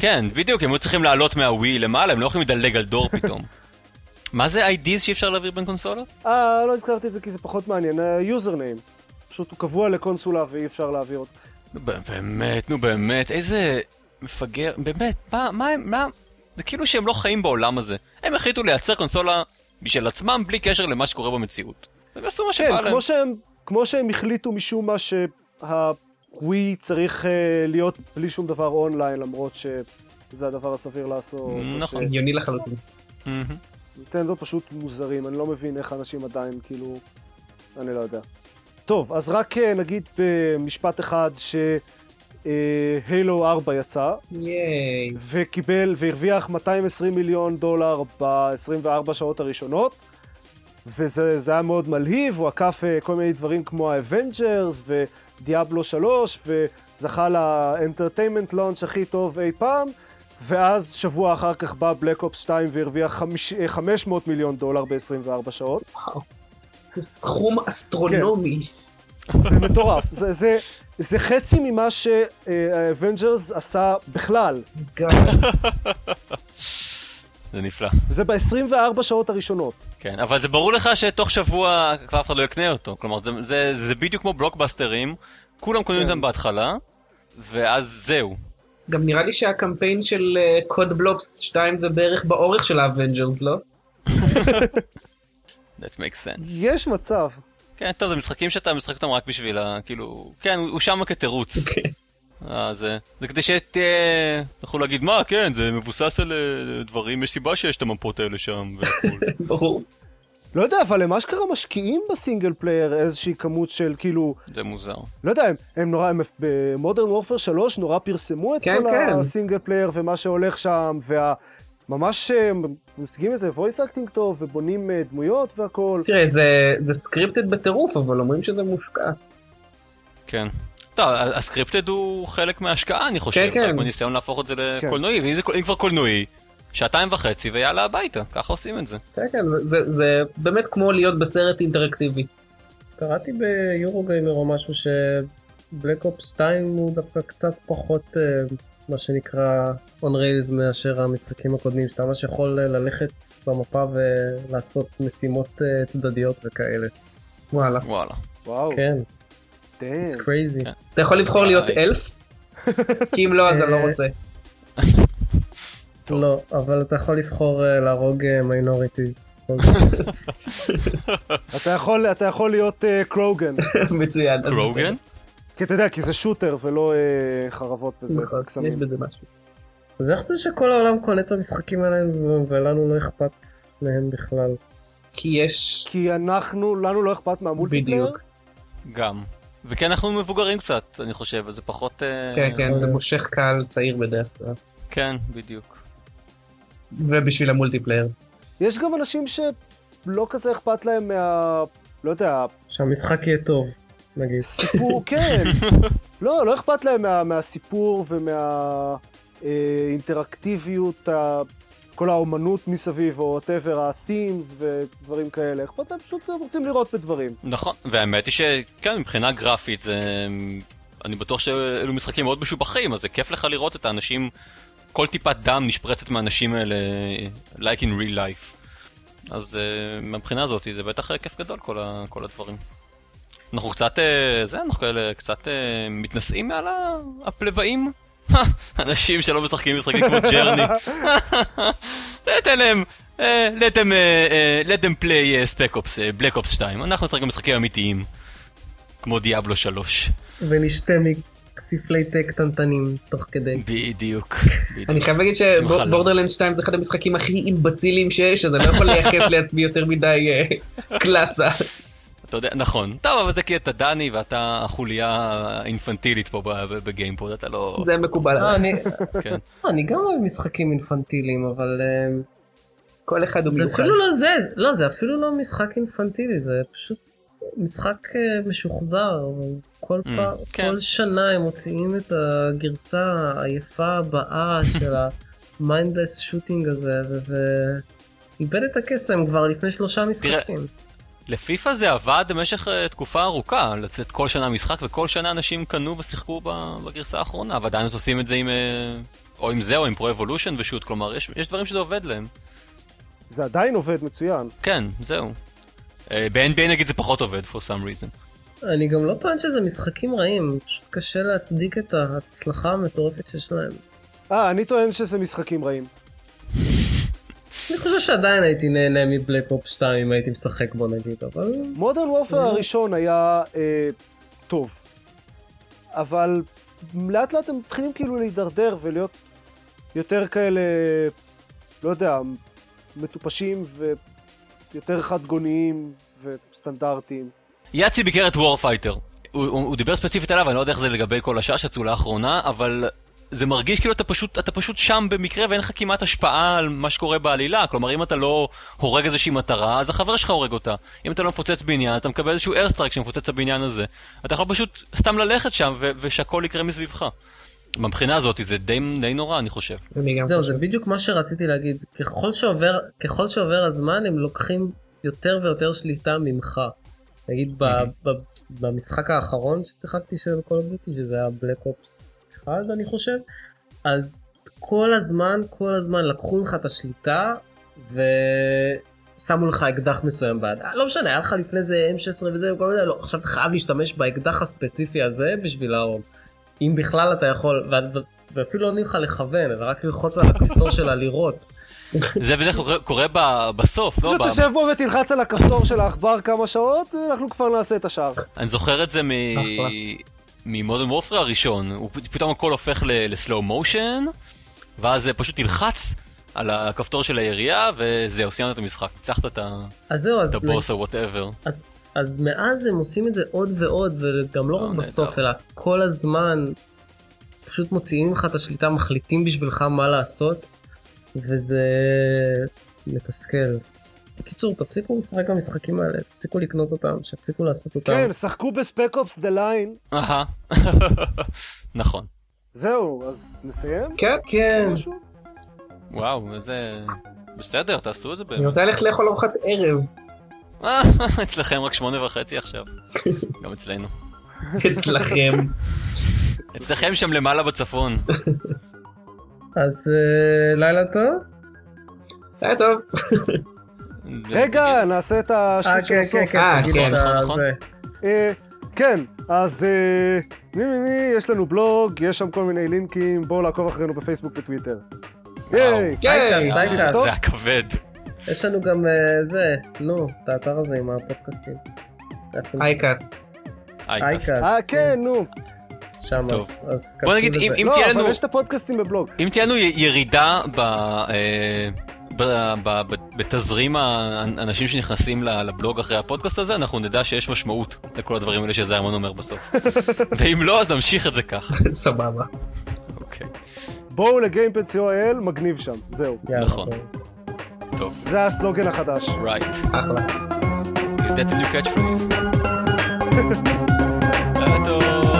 S2: כן, בדיוק, הם היו צריכים לעלות מהווי למעלה, הם לא יכולים לדלג על דור פתאום. מה זה IDs שאי אפשר להעביר בין קונסולות?
S1: אה, לא הזכרתי את זה כי זה פחות מעניין. יוזר ניים. פשוט הוא קבוע לקונסולה ואי אפשר להעביר אותו.
S2: נו ב- באמת, נו באמת, איזה מפגר, באמת, מה, מה, הם- מה, זה כאילו שהם לא חיים בעולם הזה. הם החליטו לייצר קונסולה בשביל עצמם, בלי קשר למה שקורה במציאות. הם עשו מה שבא
S1: כן,
S2: להם.
S1: כמו שהם, כמו שהם החליטו משום מה שהווי צריך אה, להיות בלי שום דבר אונליין, למרות שזה הדבר הסביר לעשות. או
S2: נכון.
S4: הגיוני לחלוטין.
S2: מהמם.
S1: שנינטנדו פשוט מוזרים, אני לא מבין איך אנשים עדיין, כאילו, אני לא יודע. טוב, אז רק אה, נגיד במשפט אחד ש... הילו 4 יצא,
S4: ייי.
S1: וקיבל והרוויח 220 מיליון דולר ב-24 שעות הראשונות, וזה זה היה מאוד מלהיב, הוא עקף אה, כל מיני דברים כמו האבנג'רס ודיאבלו 3, וזכה לאנטרטיימנט לונץ' הכי טוב אי פעם, ואז שבוע אחר כך בא בלק אופס 2 והרוויח חמיש- אה, 500 מיליון דולר ב-24 שעות.
S4: וואו. זה סכום אסטרונומי.
S1: זה מטורף, זה, זה, זה חצי ממה שהאבנג'רס עשה בכלל,
S2: זה נפלא.
S1: וזה ב-24 שעות הראשונות.
S2: כן, אבל זה ברור לך שתוך שבוע כבר אף אחד לא יקנה אותו. כלומר, זה, זה, זה בדיוק כמו בלוקבאסטרים, כולם קונים
S1: כן.
S2: אותם בהתחלה, ואז זהו.
S4: גם נראה לי שהקמפיין של אה, קוד בלופס 2 זה בערך באורך של האבנג'רס, לא?
S2: That makes sense.
S1: יש מצב.
S2: כן, טוב, זה משחקים שאתה משחק אותם רק בשביל ה... כאילו... כן, הוא הוא שם כתירוץ.
S4: כן.
S2: אה, זה... זה כדי שתהיה... יכול להגיד, מה, כן, זה מבוסס על אה, דברים, יש סיבה שיש את המפות האלה שם והכול.
S4: ברור.
S1: לא יודע, אבל הם אשכרה משקיעים בסינגל פלייר איזושהי כמות של כאילו,
S2: זה מוזר.
S1: לא יודע, הם, הם נורא, הם במודרן וורפר 3 נורא פרסמו את
S4: כן,
S1: כל
S4: כן.
S1: הסינגל פלייר ומה שהולך שם, וה... ממש אה, משיגים איזה voice acting טוב, ובונים אה, דמויות והכל.
S4: תראה, זה- זה סקריפטד בטירוף, אבל אומרים שזה מושקע.
S2: כן. טוב, ה- הסקריפטד הוא חלק מההשקעה, אני חושב.
S4: כן, כן.
S2: חלק מהניסיון להפוך את זה
S1: כן.
S2: לקולנועי, ואם זה קול- אם כבר קולנועי, שעתיים וחצי ויאללה הביתה, ככה עושים את זה.
S4: כן, כן, זה- זה- זה באמת כמו להיות בסרט אינטראקטיבי.
S3: קראתי ביורוגיימר או משהו שבלק אופס 2 הוא דווקא קצת פחות אה, מה שנקרא און ריילס מאשר המשחקים הקודמים שאתה ממש יכול אה, ללכת במפה ולעשות משימות אה, צדדיות וכאלה.
S4: וואלה.
S2: וואלה.
S1: וואו,
S3: כן,
S1: דיין.
S3: it's crazy.
S2: כן.
S4: אתה יכול לבחור להיות
S2: וואי.
S4: אלף? כי אם לא, אז אני לא רוצה.
S2: טוב.
S3: לא, אבל אתה יכול לבחור אה, להרוג מיינוריטיז.
S1: אתה יכול, אתה יכול להיות אה, קרוגן.
S4: מצוין. אז
S2: רוגן?
S1: כי אתה יודע, כי זה שוטר ולא אה, חרבות וזה,
S4: בסדר. נכון, יש
S1: קסמים.
S4: בזה משהו.
S3: אז איך זה שכל העולם קונה את המשחקים האלה ו- ולנו לא אכפת מהם בכלל?
S4: כי יש...
S1: כי אנחנו, לנו לא אכפת מהמולטיפלייר.
S4: בדיוק.
S2: גם. וכן, אנחנו מבוגרים קצת, אני חושב, אז זה פחות... אה,
S4: כן, כן, זה מושך קהל צעיר בדרך כלל.
S2: כן, בדיוק.
S4: ובשביל המולטיפלייר.
S1: יש גם אנשים שלא כזה אכפת להם מה... לא יודע,
S3: שהמשחק יהיה טוב, נגיד.
S1: סיפור, כן. לא, לא אכפת להם מה, מהסיפור ומהאינטראקטיביות, אה, כל האומנות מסביב, או whatever, ה-themes ודברים כאלה. אכפת להם פשוט, הם רוצים לראות בדברים.
S2: נכון, והאמת היא שכן, מבחינה גרפית זה... אני בטוח שאלו משחקים מאוד משובחים, אז זה כיף לך לראות את האנשים, כל טיפת דם נשפרצת מהאנשים האלה, like in real life. אז אה, מהבחינה הזאת זה בטח אה, כיף גדול כל, ה, כל הדברים. אנחנו קצת, אה, זה, אנחנו כאלה קצת אה, מתנשאים מעל ה- הפלבאים. אנשים שלא משחקים משחקים כמו ג'רני. תן להם, אה, let them, אה, אה, let them play ספק אופס, בלק אופס 2. אנחנו משחקים משחקים אמיתיים, כמו דיאבלו 3.
S3: ונשתה מכספלי תה קטנטנים תוך כדי.
S2: בדיוק. בדיוק.
S4: אני חייב להגיד
S2: חלום.
S4: שבורדרלנד 2 זה אחד המשחקים הכי אימבצילים שיש, אז אני לא יכול לייחס לעצמי יותר מדי אה, קלאסה.
S2: אתה יודע, נכון. טוב, אבל זה כי אתה דני ואתה החוליה האינפנטילית פה ב- ב- בגיימפוד, אתה לא...
S4: זה מקובל
S3: אה,
S4: עליי.
S3: אני
S2: כן.
S3: אה, אני גם אוהב משחקים אינפנטיליים, אבל אה,
S4: כל אחד הוא
S3: זה
S4: מיוחד.
S3: אפילו לא זה, לא, זה אפילו לא משחק אינפנטילי, זה פשוט משחק אה, משוחזר. אבל כל
S2: Mm,
S3: פעם,
S2: כן.
S3: כל שנה הם מוציאים את הגרסה היפה הבאה של המיינדלס שוטינג הזה, וזה איבד את הקסם כבר לפני שלושה משחקים.
S2: לפיפא זה עבד במשך אה, תקופה ארוכה, לצאת כל שנה משחק, וכל שנה אנשים קנו ושיחקו ב- בגרסה האחרונה, ועדיין אז עושים את זה עם... אה, או עם זה או עם פרו אבולושן ושוט, כלומר, יש, יש דברים שזה עובד להם.
S1: זה עדיין עובד מצוין.
S2: כן, זהו. אה, ב-NBA נגיד זה פחות עובד, for some reason.
S3: אני גם לא טוען שזה משחקים רעים, פשוט קשה להצדיק את ההצלחה המטורפת שיש להם.
S1: אה, אני טוען שזה משחקים רעים.
S3: אני חושב שעדיין הייתי נהנה מבלק אופ 2 אם הייתי משחק בו נגיד, אבל...
S1: מודרן וורפר
S4: אוקיי.
S1: הראשון היה אה, טוב, אבל לאט לאט הם מתחילים כאילו להידרדר ולהיות יותר כאלה, לא יודע, מטופשים ויותר חד גוניים וסטנדרטיים.
S2: יאצי ביקר את וורפייטר. הוא, הוא, הוא דיבר ספציפית עליו, אני לא יודע איך זה לגבי כל השעה שיצאו לאחרונה, אבל זה מרגיש כאילו אתה פשוט, אתה פשוט שם במקרה ואין לך כמעט השפעה על מה שקורה בעלילה. כלומר, אם אתה לא הורג איזושהי מטרה, אז החבר שלך הורג אותה. אם אתה לא מפוצץ בניין, אתה מקבל איזשהו איירסטרייק שמפוצץ את הבניין הזה. אתה יכול פשוט סתם ללכת שם ו- ושהכול יקרה מסביבך. מבחינה הזאת זה די, די נורא, אני חושב.
S4: אני גם
S3: לא- זהו,
S4: חושב.
S3: זה בדיוק מה שרציתי להגיד. ככל שעובר, ככל שעובר הזמן הם לוקחים יותר ויותר שליטה ממך. נגיד ב- ב- במשחק האחרון ששיחקתי של Call of Duty, שזה היה בלק אופס 1 אני חושב, אז כל הזמן, כל הזמן לקחו לך את השליטה ושמו לך אקדח מסוים ביד. אה, לא משנה, היה לך לפני זה M16 וזה, וכל מיני, לא, עכשיו אתה חייב להשתמש באקדח הספציפי הזה בשביל להרוג. אם בכלל אתה יכול, ו- ו- ואפילו לא נותנים לך לכוון, אלא רק ללחוץ על הכפתור שלה לראות.
S2: זה בדרך כלל קורה- קורה ב- בסוף, לא?
S1: פשוט
S2: ב-
S1: תשב פה ותלחץ על הכפתור של העכבר כמה שעות, אה, אנחנו כבר נעשה את השאר.
S2: אני זוכר את זה מ...
S3: אחלה.
S2: ממודרן וורפר הראשון, הוא פ- פתאום הכל הופך לסלואו מושן, ואז אה, פשוט תלחץ על הכפתור של הירייה, וזהו, סיימת את המשחק, ניצחת את ה-
S3: אז זהו,
S2: את
S3: אז
S2: הבוס או וואטאבר.
S3: אז, אז מאז הם עושים את זה עוד ועוד, וגם לא
S2: אה,
S3: רק
S2: נהדר.
S3: בסוף, אלא כל הזמן פשוט מוציאים לך את השליטה, מחליטים בשבילך מה לעשות, וזה מתסכל. בקיצור, תפסיקו לשחק במשחקים האלה, תפסיקו לקנות אותם, שיפסיקו לעשות אותם. אה,
S1: כן, שחקו בספק אופס דה ליין.
S2: אהה, נכון.
S1: זהו, אז נסיים?
S4: כן,
S3: כן.
S1: משהו?
S2: וואו, איזה... בסדר, תעשו את זה
S4: אני
S2: באמת.
S4: רוצה ללכת לאכול ארוחת ערב.
S2: אה, אצלכם רק שמונה וחצי עכשיו. גם אצלנו.
S4: אצלכם.
S2: אצלכם שם למעלה בצפון.
S3: אז אה, לילה טוב?
S4: היה טוב.
S1: רגע, נעשה את השטות של הסוף.
S4: אה,
S3: תגיד
S4: כן,
S3: את
S2: נכון,
S3: ה-
S2: נכון.
S3: זה.
S1: אה, כן, אז אה, מי מי מי, יש לנו בלוג, יש שם כל מיני לינקים, בואו לעקוב אחרינו בפייסבוק וטוויטר. ייי!
S4: כן.
S3: די,
S2: זה-
S1: טוב.
S2: זה הכבד.
S3: יש לנו גם אה, זה, נו, את האתר הזה עם הפודקאסטים. איך זה נקרא?
S4: אייקאסט.
S2: אייקאסט.
S3: אייקאסט,
S1: אה, כן, נו.
S3: שם,
S2: טוב.
S3: אז- אז
S2: בוא נגיד,
S3: כנסו לזה.
S2: אם כן,
S1: לא,
S2: תהיה לנו-
S1: אבל יש את הפודקאסטים בבלוג.
S2: אם תהיה לנו י- ירידה ב... אה, ב- ב- ב- בתזרים האנשים שנכנסים ל- לבלוג אחרי הפודקאסט הזה, אנחנו נדע שיש משמעות לכל הדברים האלה שזיירמן אומר בסוף. ואם לא, אז נמשיך את זה ככה.
S4: סבבה.
S2: אוקיי,
S1: בואו לגיימפד co.il, מגניב שם. זהו.
S3: יאללה,
S2: נכון.
S3: טוב.
S2: טוב,
S1: זה הסלוגן החדש.
S2: right.
S4: אחלה.
S2: Is that a new catchphrase? יאללה טוב.